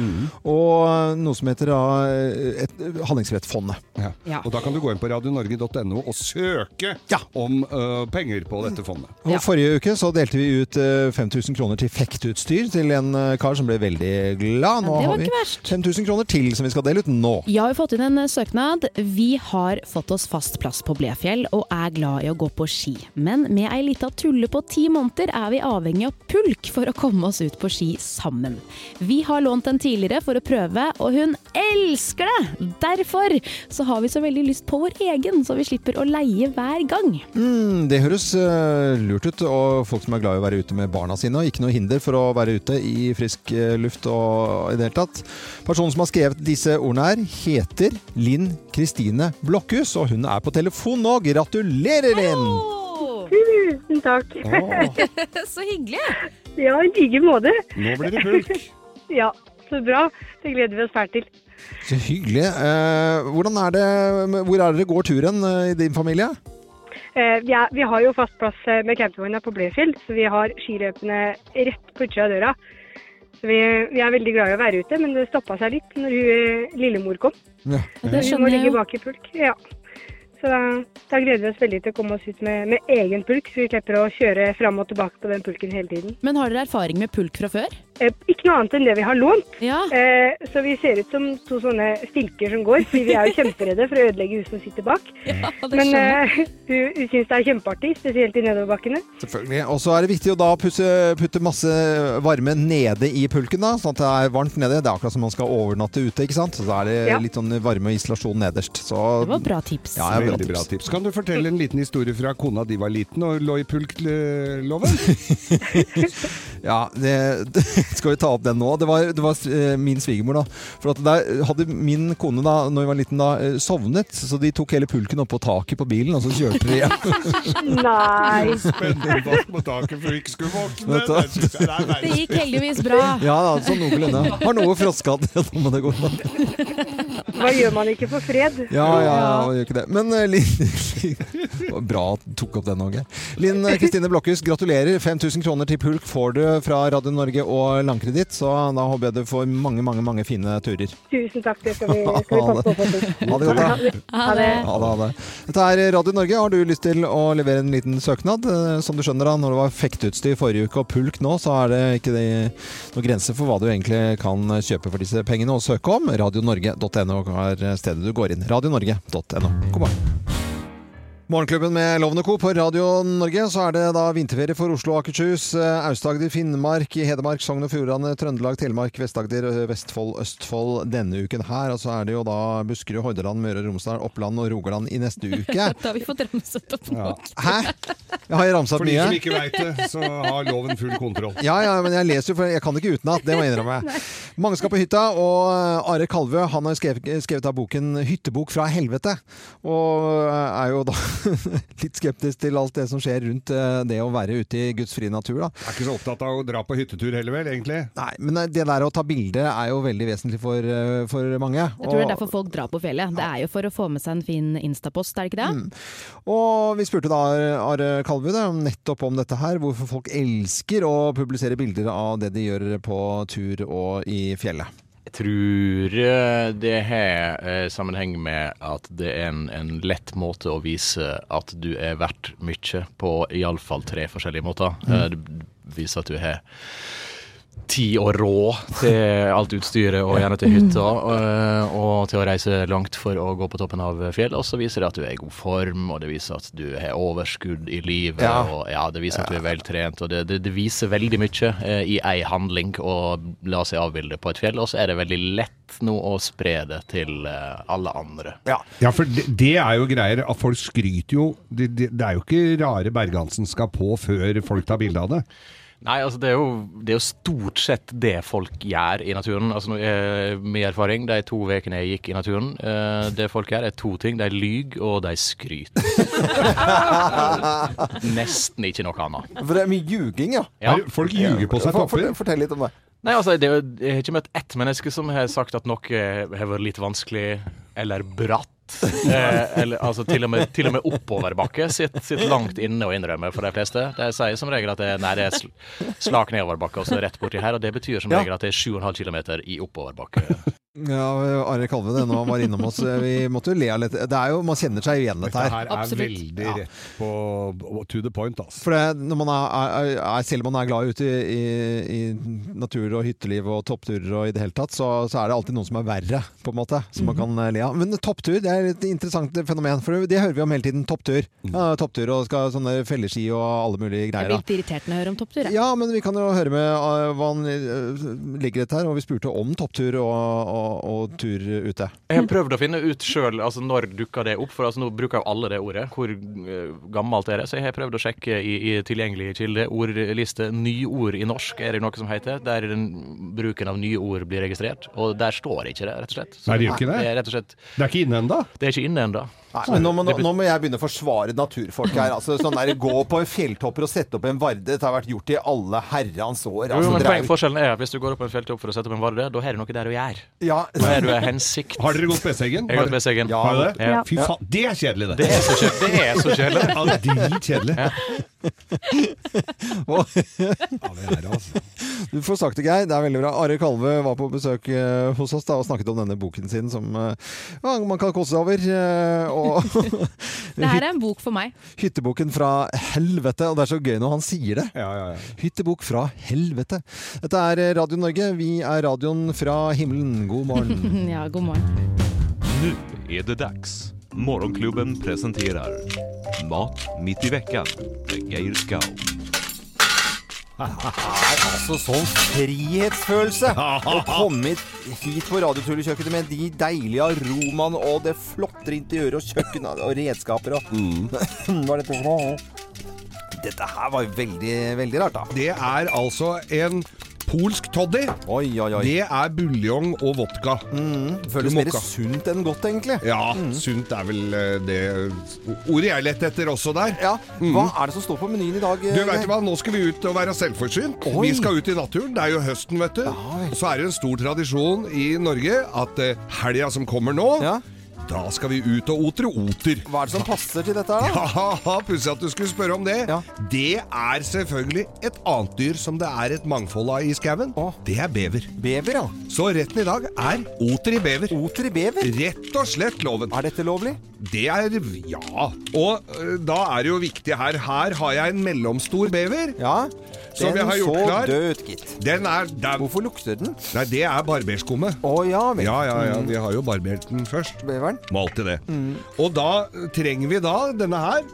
Og eh, noe som heter da, eh, et Hallingsbrettfondet. Ja. Og da kan du gå inn på radionorge.no og søke om eh, penger på dette fondet. Og Forrige uke så delte vi ut eh, 5000 kroner til fekteutstyr til en eh, kar som ble veldig glad. Ja, det Nå var har vi ikke verst. 5000 kroner til som vi skal dele ut nå. Jeg har jo fått inn en eh, søknad. Vi har fått oss fast plass på Blefjell og er glad i å gå på ski. Men med ei lita tulle på ti måneder er vi avhengig av pulk for å komme oss ut på ski sammen. Vi har lånt den tidligere for å prøve, og hun elsker det! Derfor så har vi så veldig lyst på vår egen, så vi slipper å leie hver gang. Mm, det høres eh, lurt ut, og folk som er glad i å være ute med barna sine, og ikke noe hinder for å være ute i frisk eh, luft og i det hele tatt. Personen som har skrevet disse ordene her, heter Linn Kristine Blokhus, og hun er på telefon nå. Gratulerer, Linn! Tusen takk. så hyggelig. Ja, i like måte. Nå blir det ja, så bra. Det gleder vi oss fælt til. Så hyggelig. Eh, hvordan er det, hvor er det dere går turen eh, i din familie? Eh, vi, er, vi har jo fast plass eh, med campingvogna på Blefjell, så vi har skiløpene rett på utsida av døra. Så vi, vi er veldig glad i å være ute, men det stoppa seg litt når hun, eh, lillemor kom. Det hun må skjønner jeg ligge jo. bak i pulk. Ja. Så da, da gleder vi oss veldig til å komme oss ut med, med egen pulk, så vi slipper å kjøre fram og tilbake på den pulken hele tiden. Men har dere erfaring med pulk fra før? Eh, Ikke noe annet enn det vi har lånt. Eh, så vi ser ut som to sånne stilker som går, fordi vi er jo kjemperedde for å ødelegge hun som sitter bak. det Men skjønner eh, hun, hun syns det er kjempeartig, spesielt i nedoverbakkene. Selvfølgelig. Og så er det viktig å da pusse, putte masse varme nede i pulken, da, sånn at det er varmt nede. Det er akkurat som man skal overnatte ute, ikke sant? Så da er det Ja. litt sånn varme og isolasjon nederst. Så, det var bra tips. Ja, det var Veldig bra tips. Kan du fortelle en liten historie fra kona di var liten og lå i pulkloven? Ja, det, det, skal vi ta opp den nå? Det var, det var eh, min svigermor, da. For at der hadde min kone da når vi var liten da, eh, sovnet, så de tok hele pulken oppå taket på bilen, og så kjørte de hjem. Nei. Spennende bak på taket for hun ikke skulle våkne. Vet du hva? Det synes jeg er Det gikk heldigvis bra. Ja da, sånn noenlunde. Har noe froskadd. Ja, da må det gå. Hva gjør man ikke for fred? Ja, ja, ja, man gjør ikke det. Men eh, Linn Det var Bra at du tok opp den òg, Geir. Linn eh, Kristine Blokhus, gratulerer. 5000 kroner til pulk får du fra Radio Norge og Landkreditt, så da håper jeg du får mange, mange, mange fine turer. Tusen takk, det skal vi, skal vi passe på. faktisk. Ha det godt, da. Ha det. Ha det, ha det. Dette er Radio Norge. Har du lyst til å levere en liten søknad? Eh, Som du skjønner, da, når det var fekteutstyr forrige uke og pulk nå, så er det ikke det noen grenser for hva du egentlig kan kjøpe for disse pengene og søke om. Radionorge.no er stedet du går inn. Radionorge.no. God morgen. Morgenklubben med Lovende Co. på Radio Norge. Så er det da vinterferie for Oslo og Akershus. eh, Aust-Agder, Finnmark, Hedmark, Sogn og Fjordane, Trøndelag, Telemark, Vest-Agder, eh, Vestfold, Østfold denne uken her. Og så er det jo da Buskerud, Hordaland, Møre og Romsdal, Oppland og Rogaland i neste uke. Da har vi fått ramset opp Ja. nok. Hæ? Jeg har ramsa opp For de mye. som ikke vet det, så har loven full kontroll. Ja, ja, men jeg leser jo, for jeg kan ikke utenat. Det må jeg innrømme. Mange skal på hytta, og eh, Are Kalvø han har skrevet, skrevet av boken 'Hyttebok fra helvete'. Og eh, er jo da litt skeptisk til alt det som skjer rundt eh, det å være ute i Guds frie natur. da. Er ikke så opptatt av å dra på hyttetur heller, vel, egentlig? Nei, Men eh, det der å ta bilde er jo veldig vesentlig for, eh, for mange. Jeg tror det er Og- derfor folk drar på fjellet. Det er jo for å få med seg en fin instapost, er det ikke det? Mm. Og vi spurte da Are Kalvø da, nettopp om dette her, hvorfor folk elsker å publisere bilder av det de gjør på tur og i fjellet. Jeg tror eh, det har eh, sammenheng med at det er en, en lett måte å vise at du er verdt mye på iallfall tre forskjellige måter. Mm. Eh, Det viser at du har tid og råd til alt utstyret og gjerne til hytta, eh, og til å reise langt for å gå på toppen av fjell. Og så viser det at du er i god form, og det viser at du har overskudd i livet. Ja. Og ja, det viser at du er veltrent, og det, det, det viser veldig mye eh, i ei handling å la seg avbilde på et fjell. Og så er det veldig lett nå å spre det til eh, alle andre. Ja, for det, det er jo greier at folk skryter jo det, det, det er jo ikke rare Bergansen skal på før folk tar bilde av det. Nei, altså det er, jo, det er jo stort sett det folk gjør i naturen. Altså, nå, eh, min erfaring de to ukene jeg gikk i naturen, eh, det folk gjør er to ting. De lyver, og de skryter. Nesten ikke noe annet. For det er mye ljuging, ja. Ja. Folk ljuger på seg For- for- topper. Fortell litt om det. Nei, altså, det, er jo- jeg har ikke møtt ett menneske som har sagt at noe har vært litt vanskelig eller bratt. Eh, eller, altså til og med, til og med oppoverbakke sitter sitt langt inne og innrømmer for de fleste. De sier som regel at det, nei, det er sl slak nedoverbakke og så rett borti her, og det betyr som Ja. regel at det er 7,5 km i oppoverbakke. Ja, Are Kalve, det når han var innom oss, eh, vi måtte jo le av litt. Det er jo, man kjenner seg jo igjen i dette Dette her. her er veldig rett på to the point, altså. For det, når man er, er, er, selv om man er glad ute i, i, i natur og hytteliv og toppturer og i det hele tatt, så, så er det alltid noen som er verre, på en måte, som man kan eh, le av. Men topptur det er et interessant fenomen, for det hører vi om hele tiden. Topptur. Mm. Ja, topptur og skal ha sånne felleski og alle mulige Jeg greier. blir da. litt irritert når jeg hører om topptur. jeg. Ja, men vi kan jo høre med eh, hva han eh, ligger dette her, og vi spurte om topptur og, og, og tur ute. Jeg har prøvd å finne ut sjøl altså, når dukka det opp, for altså, nå bruker jo alle det ordet. Hvor eh, gammelt er det? Så jeg har prøvd å sjekke i, i tilgjengelige kilder, ordliste, nyord i norsk er det noe som heter, der den, bruken av nye ord blir registrert. Og der står ikke det, rett og slett. Så Nei, det gjør ikke det. Det er rett og slett Det er ikke inne ennå? Det er ikke inne ennå. Nei, men nå, må- nå, nå må jeg begynne å forsvare naturfolk her. Altså, sånn der, gå på fjelltopper og sette opp en varde. Dette har vært gjort i alle herrens år. Jo, Altså, men dere er poeng- Forskjellen er at hvis du går opp på en felttopp for å sette opp en varde, da har du noe der å gjøre. Ja. Da har du en hensikt. Har dere gått Besseggen? Jeg har gått Besseggen. Ja, har dere det? Ja. Fy faen, det er kjedelig, det. Det er så kjedelig. Det er så kjedelig. Ja, det er dritkjedelig. altså. Du får sagt det, Geir. Det er veldig bra. Are Kalve var på besøk eh, hos oss da, og snakket om denne boken sin som eh, ja, man kan kose seg over. eh, og Det her er en bok for meg. Hytteboken fra helvete. Og det er så gøy når han sier det. Hyttebok fra helvete. Dette er eh, Radio Norge. Vi er radioen fra himmelen. God morgen. ja, god morgen. Nu är det dags. Morgonklubben presenterar Mat mitt i veckan med Geir Skau. er altså sånn frihetsfølelse å komme hit på Radiotullekjøkkenet med de deilige aromaene og det flotte interiøret og kjøkkenet og redskaper og Mm. Hva er dette for noe? Dette her var jo veldig, veldig rart, da. Det er altså en polsk toddy. Det er buljong og vodka. Mm. føles mer sunt enn godt, egentlig. Mm. Ja, sunt er vel eh, det ordet jeg lette etter også der. Mm. Hva er det som står på menyen i dag? eh? Du vet du hva, Nå skal vi ut og være selvforsynt. Oi. Vi skal ut i naturen. Det er jo høsten, vet du. Og så er det en stor tradisjon i Norge at eh, helga som kommer nå Da skal vi ut og otre oter. Hva er det som passer til dette? her da? Ja, Pussig at du skulle spørre om det. Det er selvfølgelig et annet dyr som det er et mangfold av i skauen. Det er bever. Bever, ja. Så retten i dag er oter i bever. Oter i bever? Rett og slett loven. Er dette lovlig? Det er Ja. Og ø, da er det jo viktig her. Her har jeg en mellomstor bever. Ja, som den jeg har gjort så klar. død, gitt. Den er, den... Hvorfor lukter den? Nei, det er barberskumme. Å ja vel. Ja, ja, ja. Mm. Vi har jo barbert den først. Beveren? Må alltid det. Mm. Og da trenger vi da denne her.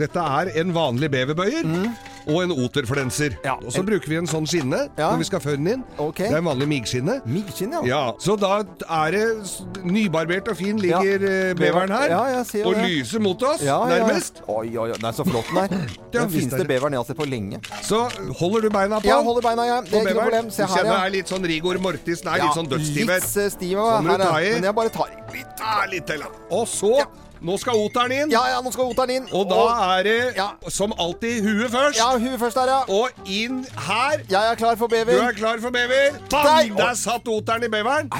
Dette er en vanlig beverbøyer. Mm. Og en oterflenser. og så bruker vi en sånn skinne når vi skal føre den inn. Det er en vanlig miggskinne. Miggskinne, ja. Så da er det s- nybarbert og fin ligger eh, beveren her. Ja, jeg ser jo og det. lyser mot oss, Ja, ja, ja. nærmest. Oi, oi, oi. Nei, så flott den er. Ja, Den visst finnes er det det. beveren jeg har sett på lenge. Så holder du beina på? Ja, holder beina, jeg. Det På er ikke noe beveren. problem. Se du her, kjenner ja. er litt sånn rigor mortis. Nei, Ja, litt sånn dødsstiver. Litt eh, stiv, Så må her, du ta i. ja. men jeg bare tar i. Litt, ah, litt til. ja. Og så Nå skal oteren inn. Ja, ja, nå skal oteren inn. Og da er det som alltid huet først. Ja, huet først der, ja. Og inn her. Jeg er klar for Du bever. er klar for bever? Nei, Bang! å. Der satt oteren i beveren.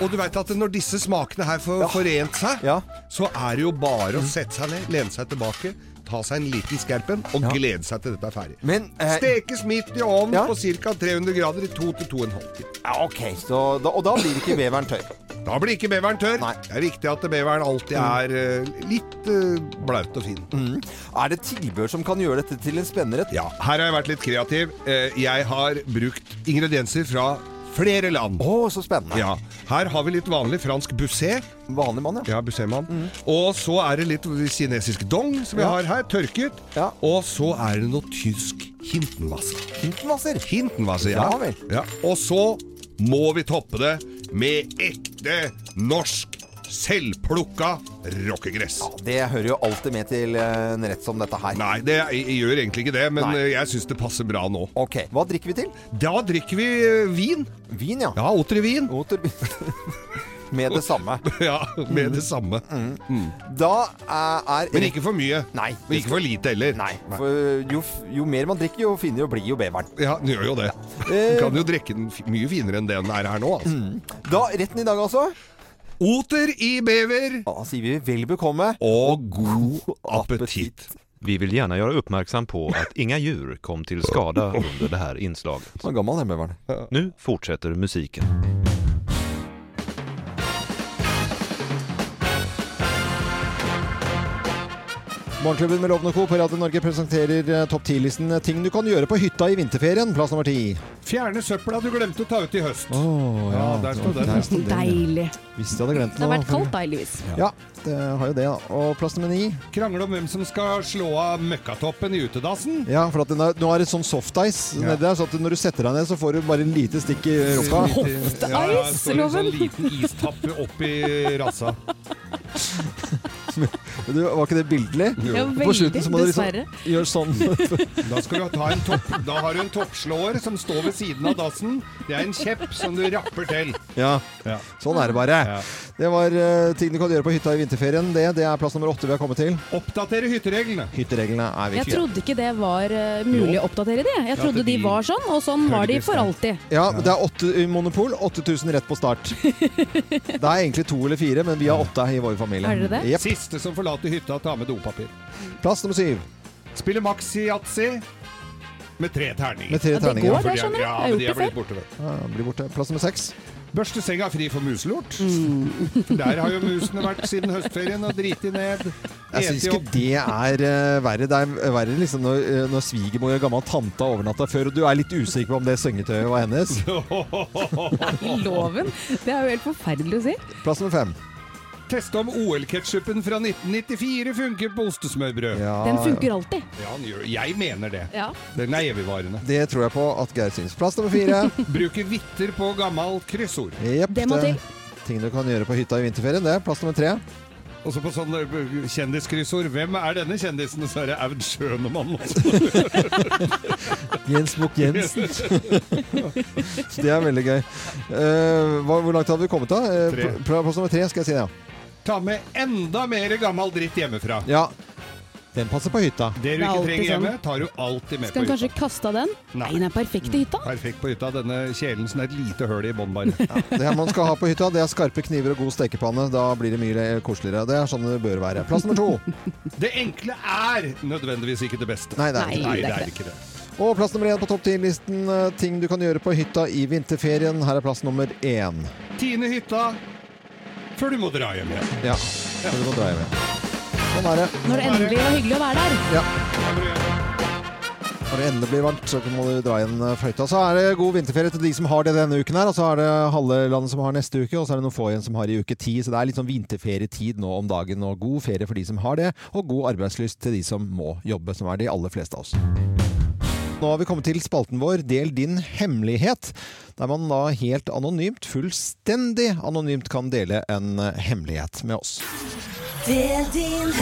Og du veit at når Mm. disse smakene her får forent seg, så er det jo bare å sette seg ned, lene seg tilbake, ta seg en liten skerpen og glede seg til dette er ferdig. Men, eh, Stekes midt i ovnen på ca. 300 grader i 2 til 2,5 timer. ok, så da, Og da blir ikke beveren tørr? Da blir ikke beveren tørr. Det er viktig at beveren alltid er eh, litt eh, blaut og fin. Mm. Er det tilbør som kan gjøre dette til en spennerett? Ja, her har jeg vært litt kreativ. Eh, Jeg har brukt ingredienser fra flere land. Å, så spennende. Ja. Her har vi litt vanlig fransk busset. Vanlig mann, Mm. ja. bussetmann. Og så er det litt kinesisk dong, som vi Ja. har her, tørket. Og så er det noe tysk hintenwasser. Hintenwasser? Hintenwasser, ja. Ja vel. ja. Og så må vi toppe det med ekte norsk selvplukka rockegress. Det hører jo alltid med til eh, en rett som dette her. Nei, det jeg, jeg gjør egentlig ikke det, men Nei. eh, jeg syns det passer bra nå. Ok, Hva drikker vi til? Da drikker vi eh, vin. Vin, ja. Ja, Otrevin. Med det samme. ja, med det samme. Mm. Da er, er Men ikke for mye. Nei. Og ikke for lite heller. Nei. eh, For jo, f- jo mer man drikker, jo finere blir jo beveren. Ja, den gjør jo det. Eh. Du kan jo drikke den f- mye finere enn det den er her nå, altså. Mm. Da, Retten i dag, altså? Oter i bever. Da sier vi vel bekomme. Og god appetitt. Vi vill gärna göra uppmärksam på att inga djur kom till skada under det här inslaget. Vad gammal den bevaren. Nu fortsätter musiken. Morgenklubben med Lovende Co. på Radio Norge presenterer eh, topp 10-listen ting du kan gjøre på hytta i vinterferien. Plass nummer ti. Fjerne søpla du glemte å ta ut i høst. Å, ja, der sto den. Deilig. Hvis jeg hadde glemt Det har vært kaldt da, heldigvis. Ja, det har jo det, da. Og plass nummer ni. Krangle om hvem som skal slå av møkkatoppen i utedassen. Ja, for at den er, nå er det sånn softice Ja. nedi der, så at når du setter deg ned, så får du bare en lite stikk i rumpa. Lite- ja, ja, så er det en Sånn liten istappe oppi rassa. Men du, Var ikke det bildelig? Jo. Ja, På slutten så må du veldig, liksom gjøre sånn. Da, skal du ta en topp, da har du en toppslåer som står ved siden av dassen. Det er en kjepp som du rapper til. Ja. Sånn er det bare. Det var eh, ting du kan gjøre på hytta i vinterferien. Det, det er plass nummer åtte vi har kommet til. Oppdatere hyttereglene. Hyttereglene Jeg er viktige. trodde ikke det var eh, mulig å oppdatere de. Jeg Ja, trodde de fordi- var sånn, og sånn var de for alltid. Ja, det er åtte i monopol. 8000 rett på start. Det er egentlig to eller fire, men vi har åtte i vår familie. Jep. Siste som forlater hytta, tar med dopapir. Plass nummer syv. Spille maxi-yatzy med tre terninger. Med tre Ja, det terninger, går, ja. det, skjønner du. Ja, Jeg har men gjort de er det blitt før. borte, vet du. Ja, blir borte. Plass nummer seks. Børste senga fri for muselort. Mm. For der har jo musene vært siden høstferien og driti ned. Jeg syns Eti opp. ikke det er eh, verre. Det er verre liksom når, eh, når svigermor og gammel tante har overnatta før, og du er litt usikker på om det sengetøyet var hennes. Loven. Det er jo helt forferdelig å si. Plass nummer fem. Teste om OL-ketsjupen fra 1994 funker på ostesmørbrød. Den funker alltid. Ah, Ja, den gjør, jeg mener det. Ja. Den er evigvarende. Det tror jeg på at Geir syns. Plass nummer fire. Bruke vitter på gammelt kryssord. Jepp, eh, Det må til. Ting du kan gjøre på hytta i vinterferien, det. Plass nummer tre. Og så på sånn, sånne kjendiskryssord. Hvem er denne kjendisen? Og så er det Aud Schønemann. Jens Bukk Jensen. det er veldig gøy. Eh, hva, hvor langt hadde vi kommet da? Eh, Tre. pl- plass nummer tre skal jeg si, ja. Ta med enda mer gammel dritt hjemmefra. ja. Den passer på hytta. Det du Det er ikke alltid trenger hjemme, sånn. tar du alltid Skal med på han hytta. kanskje kaste av den? Nei. Nei, den er perfekt i hytta. Perfekt på hytta. Denne kjelen som er et lite høl i bånn bare. Det man skal ha på hytta, det er skarpe kniver og god stekepanne. Da blir det mye koseligere. Det er sånn det bør være. Plass nummer to. Det enkle er nødvendigvis ikke det beste. Nei, det er ikke det. Nei, det er ikke det. Og plass nummer én på topp ti-listen. eh, Ting du kan gjøre på hytta i vinterferien. Her er plass nummer én. Tine hytta før du må dra hjem igjen. Ja. Så du må dra hjem igjen. Sånn er det. Når det endelig var hyggelig å være der. Ja. Når det endelig blir varmt, så må du dra igjen eh, fløyta. Så er det god vinterferie til de som har det denne uken her. Og så er det halve landet som har neste uke, og så er det noen få igjen som har i uke ti. Så det er litt sånn vinterferietid nå om dagen. Og god ferie for de som har det, og god arbeidslyst til de som må jobbe, som er de aller fleste av oss. Nå har vi kommet til spalten vår Del din hemmelighet, der man da helt anonymt, fullstendig anonymt kan dele en eh, hemmelighet med oss. Del din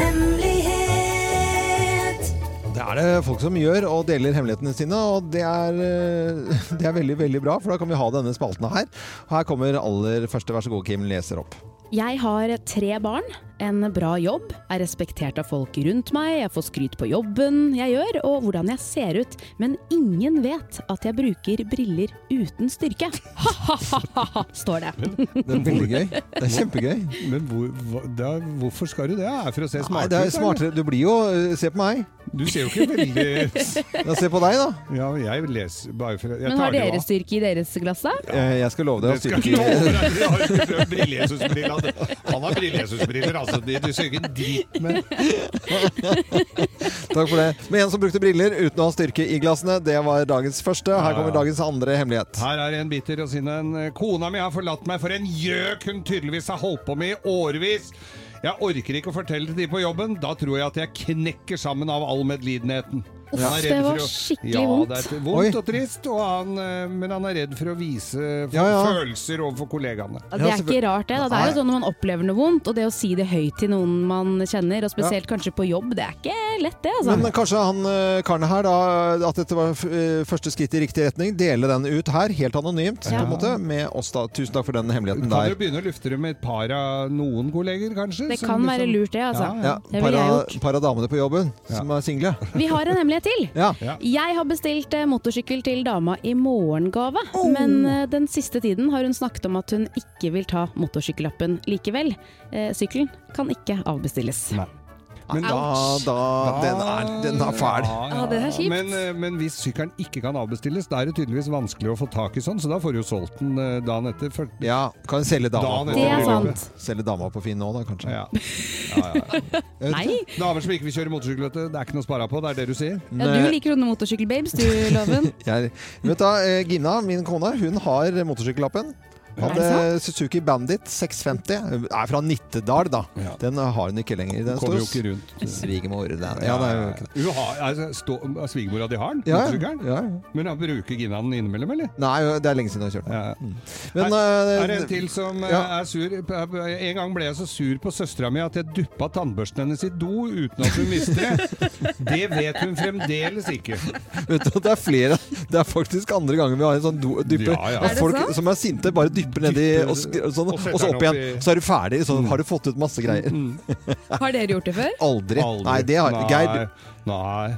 hemmelighet. Det er det folk som gjør og deler hemmelighetene sine, og det er, eh, det er veldig, veldig bra, for da kan vi ha denne spalten her. Og her kommer aller første, vær så god, Kim, leser opp. Jeg har tre barn, en bra jobb, er respektert av folk rundt meg, jeg får skryt på jobben jeg gjør, og hvordan jeg ser ut. Men ingen vet at jeg bruker briller uten styrke. Ha-ha-ha, står det. Det er veldig gøy. Det er kjempegøy. Men hvor, hva- da, hvorfor skal du det? Er det for å se Nei, smartere det er ut, smartere. Du blir jo eh, Se på meg. Du ser jo ikke veldig Ja, se på deg, da. Ja, jeg leser bare for jeg Men tar har det jo dere av. styrke i deres glass, da? Eh, Jeg skal love deg å Det skal styrke jeg love deg, for jeg har jo prøvd brillejesusbriller, altså. Han har brillejesusbriller, altså. De- Du ser jo ikke en drit med Takk for det. Med en som brukte briller uten å ha styrke i glassene, det var dagens første. Her kommer dagens andre hemmelighet. Her er en bitter og sinnen. Kona mi har forlatt meg for en gjøk hun tydeligvis har holdt på med i årevis. Jeg orker ikke å fortelle til de på jobben. Da tror jeg at jeg knekker sammen av all medlidenheten. Uff, Han er det redd var for å- skikkelig ja, vondt. Det er Oi. vondt og trist, og han, eh, men han er redd for å vise f- ja. følelser overfor kollegaene. Ja, Det er ikke rart, det. Da. Det er jo sånn når man opplever noe vondt, og det å si det høyt til noen man kjenner, og spesielt kanskje på jobb, det er ikke lett, det. altså. Men kanskje han eh, karen her, da, at dette var f- eh, første skritt i riktig retning, dele den ut her, helt anonymt, på en måte, med oss da. Tusen takk for den hemmeligheten Kan der. dere begynne å lufte det med et par av noen kolleger, kanskje? Det som liksom kan være lurt, det, altså. Ja, Det ville para, jeg gjort. para damene på jobben som er single. Vi har en hemmelighet til. Ja. Jeg har bestilt eh, motorsykkel til dama i morgengave, men eh, den siste tiden har hun snakket om at hun ikke vil ta motorsykkellappen likevel. Eh, sykkelen kan ikke avbestilles. Men da- Ouch. da- den er- den er fæl. Ja, det er kjipt. Men, eh, men hvis sykkelen ikke kan avbestilles, da er det tydeligvis vanskelig å få tak i sånn, så da får du jo solgt den eh, dagen etter. For Ja, kan selge dama. Dagen på- etter Det er bryllupet. Selge dama på Finn nå, da, kanskje. Nei. Damer som ikke vil kjøre motorsykkel, vet du, det er ikke noe å spare på, det er det du sier. Ja, du liker sånne motorsykkelbabes, du, Loven. Jeg, vet du, eh, Gina, min kone, hun har motorsykkellappen. Er det Hadde Suzuki Bandit 650. Er fra Nittedal, da. Den eh, har hun ikke lenger. Den Kommer jo står- ikke rundt. eh. Svigermor. den- Ja, det er jo ikke det. Hun har, altså, stå, Svigermora di har den, Ja, ja. motorsykkelen? Men han bruker Gina den innimellom, eller? Nei, det er lenge siden hun har kjørt den. Mm. Men, er, eh, er det en til som eh, ja. er sur? En gang ble jeg så sur på søstera mi at jeg duppa tannbørsten hennes i do uten at hun visste det. Det vet hun fremdeles ikke. Vet du, det er flere Det er faktisk andre ganger vi har en sånn do, dypper. Ja, ja. at Er det Folk sant? som er sinte, bare dypper nedi Dypper- og, sk- og sånn, og og setter så den opp opp igjen. i- Mm. Så er du ferdig. Sånn har du fått ut masse greier. Har dere gjort det før? Aldri. Nei, det har Nei. Geir. Nei.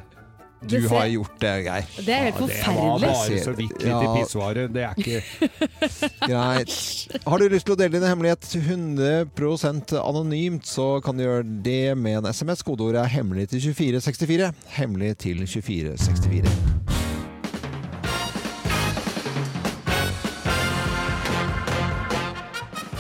Du Det ser- har gjort det, Geir. Det er helt Det var forferdelig. bare så vidt litt i Ja. pissoaret. Det er ikke Greit. Har du lyst til å dele din hemmelighet 100 anonymt, så kan du gjøre det med en SMS. Kodeordet er 'hemmelig til 2464'. Hemmelig til 2464.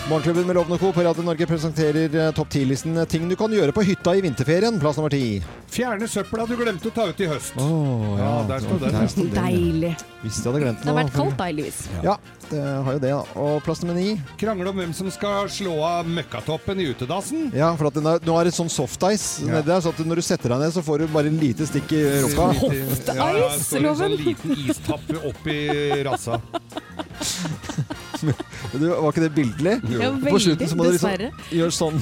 Morgenklubben med Loven og Co. på Radio Norge presenterer eh, topp 10-listen ting du kan gjøre på hytta i vinterferien. Plass nummer ti. Fjerne søpla du glemte å ta ut i høst. ja, der sto den. Der sto den. Deilig. Hvis jeg hadde glemt Det har noe. vært kaldt, da, heldigvis. Ja, det har jo det, da. Og plass nummer ni. Krangle om hvem som skal slå av møkkatoppen i utedassen. Ja, for at den er, nå er det sånn softice nedi der, så at når du setter deg ned, så får du bare en lite stikk i rumpa. Ja, ja, det står en sånn liten istappe oppi rassa. Du, var ikke det bildelig? Jo. På slutten så må du Veldig, liksom gjøre sånn.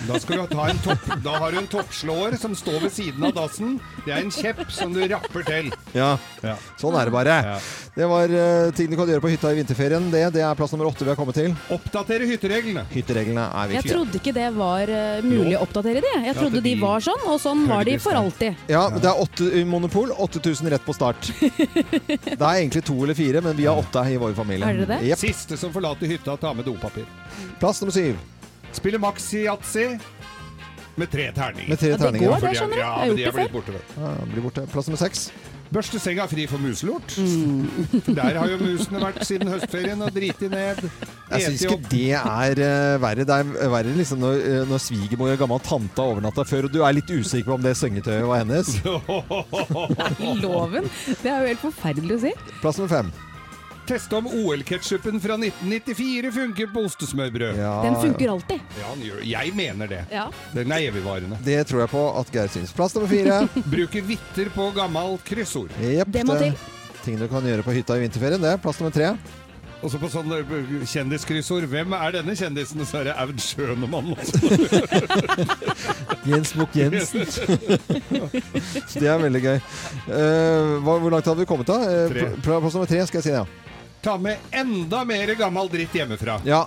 Da, skal du ta en topp, da har du en toppslåer som står ved siden av dassen. Det er en kjepp som du rapper til. Ja. Sånn er det bare. Det var eh, ting du kan gjøre på hytta i vinterferien. Det, det er plass nummer åtte vi har kommet til. Oppdatere hyttereglene. Hyttereglene er Jeg viktige. trodde ikke det var eh, mulig å oppdatere det. Jeg Ja, trodde de de- var sånn, og sånn var de for alltid. Ja, det er åtte i monopol. 8000 rett på start. Det er egentlig to eller fire, men vi har åtte i vår familie. Er det det? Jep. Siste som forlater hytta, tar med dopapir. Plass nummer syv. Spille maxi-yatzy med tre terninger. Med tre Ja, det terninger. går, For de det, er- skjønner du. Ja, Jeg har men gjort de er det blitt før. borte, vet du. Ja, blir borte. Plass nummer seks. Børste senga fri for muselort. Mm. For Der har jo musene vært siden høstferien og driti ned. Jeg syns Eti ikke opp. det er eh, verre. Det er verre liksom når, eh, når svigermor og gammel tante har overnatta før, og du er litt usikker på om det sengetøyet var hennes. Nei, Loven. Det er jo helt forferdelig å si. Plass nummer fem. Teste om OL-ketsjupen fra 1994 funker på ostesmørbrød. Den funker alltid. Ja, den gjør, jeg mener det. Ja. Den er evigvarende. Det tror jeg på at Geir syns. Plass nummer fire. Bruke vitter på gammelt kryssord. Jepp, Det må til. eh, Ting du kan gjøre på hytta i vinterferien. Det er plass nummer tre. Og så på sånn eh, kjendiskryssord. Hvem er denne kjendisen? Og så er det Aud Schønemann. Jens Bukk Jensen. det er veldig gøy. Eh, hva, hvor langt hadde vi kommet da? Eh, Tre. pl- plass nummer tre skal jeg si, ja. Ta med enda mer gammel dritt hjemmefra. ja.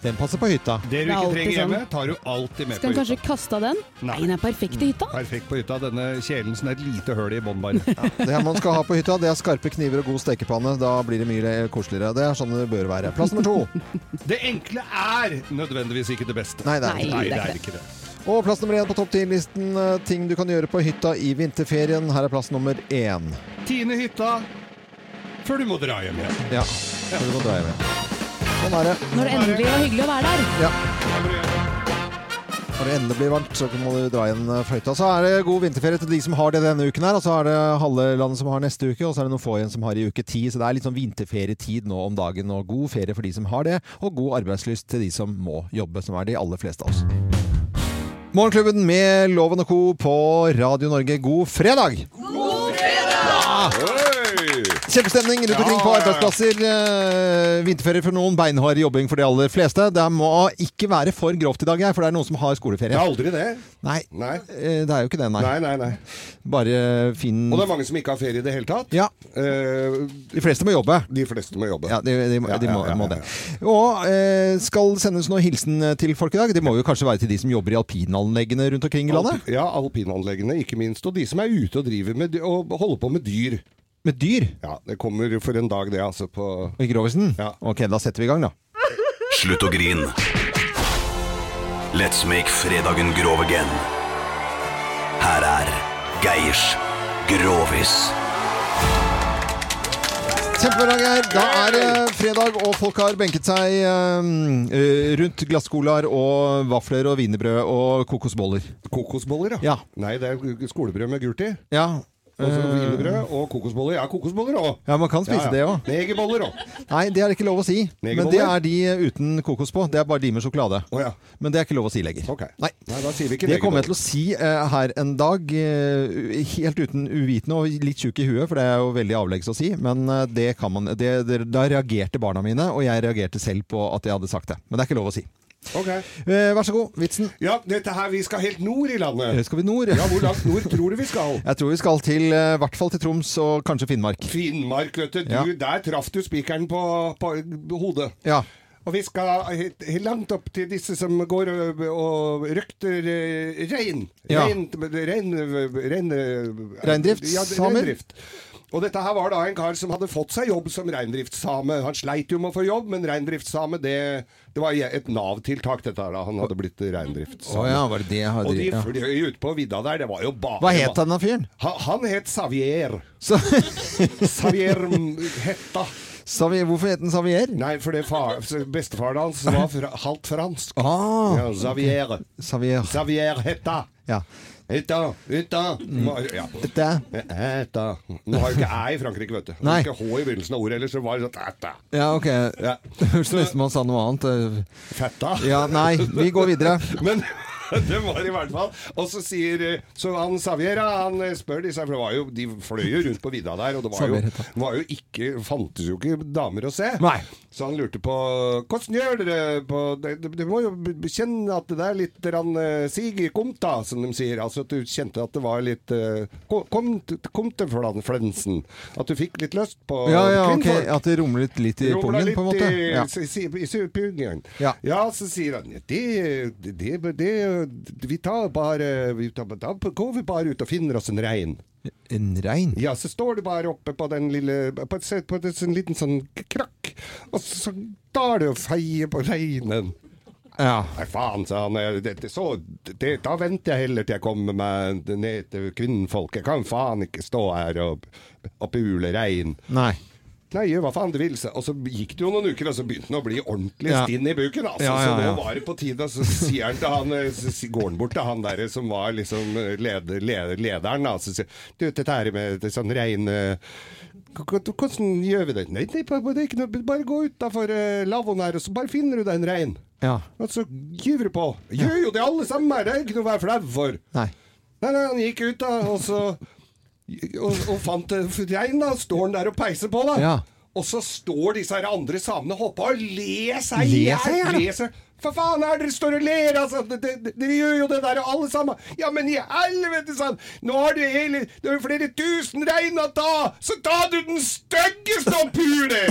Den passer på hytta. Det du Det er ikke alltid trenger hjemme, sånn. tar du alltid med Skal på en hytta. kanskje kaste av den? Nei, den er perfekt i hytta. Perfekt på hytta. Denne kjelen som er et lite høl i bånn bare. Det her man skal ha på hytta, det er skarpe kniver og god stekepanne. Da blir det mye le- koseligere. Det er sånn det bør være. Plass nummer to. Det enkle er nødvendigvis ikke det beste. Nei, det er Nei, ikke det. det er det er ikke ikke det. Og plass nummer én på topp ti-listen. eh, Ting du kan gjøre på hytta i vinterferien. Her er plass nummer én. Tine hytta før du må dra hjem igjen. Ja. Så du må dra hjem igjen. Sånn er det. Når det endelig var hyggelig å være der. Ja. Når det endelig blir varmt, så må du dra igjen eh, fløyta. Så er det god vinterferie til de som har det denne uken her. Og så er det halve landet som har neste uke, og så er det noen få igjen som har i uke ti. Så det er litt sånn vinterferietid nå om dagen. Og god ferie for de som har det, og god arbeidslyst til de som må jobbe, som er de aller fleste av oss. Morgenklubben med Loven og Co. på Radio Norge, god fredag! Kjempestemning rundt omkring på arbeidsplasser. Eh, Vinterferie for noen, beinhard jobbing for de aller fleste. Det må ikke være for grovt i dag, jeg, for det er noen som har skoleferie. Det er aldri det. Nei, eh, det er jo ikke det, nei. Nei, nei, nei. Bare fin Og det er mange som ikke har ferie i det hele tatt. De fleste må jobbe. De fleste må jobbe. Ja, de, de, de, må, må det. Og eh, skal sendes noe hilsen til folk i dag. Det må jo kanskje være til de som jobber i alpinanleggene rundt omkring i landet. Ja, alpinanleggene ikke minst. Og de som er ute og driver med dy- og holder på med dyr. Med dyr? Ja, det kommer for en dag, det, altså. På I Grovisen? Ok, da setter vi i gang, da. Slutt å grin. Let's make fredagen grov again. Her er Geirs Grovis. Kjempebra, Geir. Da er det fredag, og folk har benket seg eh, rundt glasskolar og vafler og wienerbrød og kokosboller. Kokosboller, ja. Nei, det er skolebrød med gult i. Ja. Og så Eh, wienerbrød og kokosboller. Ja, kokosboller òg. Ja, man kan spise det òg. Negerboller òg. Nei, det er det ikke lov å si. Men Negerboller? det er de uten kokos på. Det er bare de med sjokolade. Men det er ikke lov å si lenger. Nei. Nei, da sier vi ikke Det kommer negerboller. jeg til å si eh, her en dag, eh, helt uten uvitende og litt tjukk i huet, for det er jo veldig avleggs å si, men eh, det kan man det, det, Da reagerte barna mine, og jeg reagerte selv på at jeg hadde sagt det. Men det er ikke lov å si. Eh, Vær så god, vitsen. Ja, dette her, vi skal helt nord i landet. Eh, Skal vi nord? Ja, hvor langt nord tror du vi skal? Jeg tror vi skal til, eh, i hvert fall til Troms og kanskje Finnmark. Finnmark, vet du. du Ja. Der traff du spikeren på, på hodet. Ja. Og vi skal helt, helt langt opp til disse som går og, og røkter eh, rein. Ja. Rein, rein, rein, eh, Reindrift, ja, samer. reindrift. Og dette her var da en kar som hadde fått seg jobb som reindriftssame. Han sleit jo med å få jobb, men reindriftssame, det, det var et Nav-tiltak dette her da. Han hadde blitt reindriftssame. Å ja, var det det jeg hadde- Og de ja. fløy ut på vidda der, det var jo bare... Hva het denne fyren? Han, han het Xavier. Xavier Hetta. hvorfor het han Xavier? Nei, fordi far, bestefaren hans var fra, halvt fransk. Ah, ja, Xavier. ok. Xavier. Xavier Hetta. Ja. Mm. Hetta, hetta. Må- Ja. Hetta. Hetta. Nå har jo ikke æ i Frankrike, vet du. Det Nei. var Ikke H i begynnelsen av ordet ellers, så var det sånn hetta. Ja, ok. Hørtes nesten som han sa noe annet. eh. Fetta? Ja, nei, vi går videre. Men det var i hvert fall Og så sier eh, Så han Saviera, han eh, spør de seg, for det var jo, de fløy jo rundt på vidda der, og det var jo, Xavier heter var jo ikke Fantes jo ikke damer å se. Nei. Så han lurte på Hvordan gjør dere på Dere må jo kjenne at det er litt rann, eh, sig i komta, som de sier. Altså at du kjente at det var litt eh, kom- kom- Komteflensen. At du fikk litt lyst på Ja, ja, ok. kvinnfolk. At det rumlet litt i Rumla pungen, på en litt måte. i- Ja. si- si- i su- pungen. Ja. Ja, så sier han det, det, det, det Vi tar bare vi tar, Da går vi bare ut og finner oss en rein. En rein? Ja, så står du bare oppe på den lille På, et, se- på et, en liten sånn krakk, og så tar du og feier på reinen. Ja. Nei, faen, sa han. eh, Det, det, så, det, da venter jeg heller til jeg kommer meg ned til kvinnfolk. Jeg kan faen ikke stå her og, og pule rein. Nei. Nei, gjør hva faen du vil. sa- Og så gikk det jo noen uker, og så begynte han å bli ordentlig Ja. stinn i buken. Altså. Ja, ja, Så nå ja. var det på tide, så sier han til han, eh, så si- går han bort til han der som var liksom eh, leder, leder, lederen, da. Så sier du, dette her med det sånn rein eh, k- k- Hvordan gjør vi det? Nei, det er bare- det er ikke noe, bare gå utafor uh, lavvoen her, og så bare finner du deg en rein. Ja. Og så gyver du på. Gjør jo det alle sammen her, det er ikke noe å være flau for. Nei. Nei, nei, han gikk ut da, og så Og, og fant en rein, da. Står han der og peiser på, da. Ja. Og så står disse her andre samene og hopper og ler seg i Ler seg i hjel, hjel. ja. ler seg- Hva faen er det dere står og ler av? Altså, Dere- dere- dere gjør jo det der, alle sammen. Ja, men i helvete, sa han. Nå har du hele Det er jo flere tusen rein å ta, så ta du den styggeste og puler!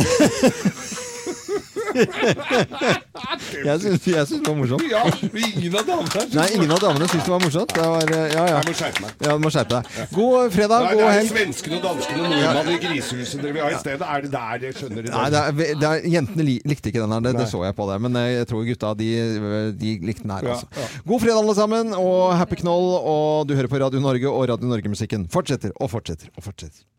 Jeg syns jeg syns det var morsomt. Ja, ingen av damene Nei, ingen av damene syntes det var morsomt. Det var, eh, ja, ja. Jeg må skjerpe meg. Ja, du må skjerpe deg. God fredag, Nei, det god er jo helg. svenskene og danskene og nordmannen i grisehuset dere vil ha i stedet. Er det der dere skjønner det? Nei, det er, det er, jentene li, likte ikke den her, det, Nei. det så jeg på det. Men eh, jeg tror gutta de, de likte den her. Ja, Altså. God fredag, alle sammen, og happy knoll. Og du hører på Radio Norge og Radio Norge-musikken. Fortsetter og fortsetter og fortsetter.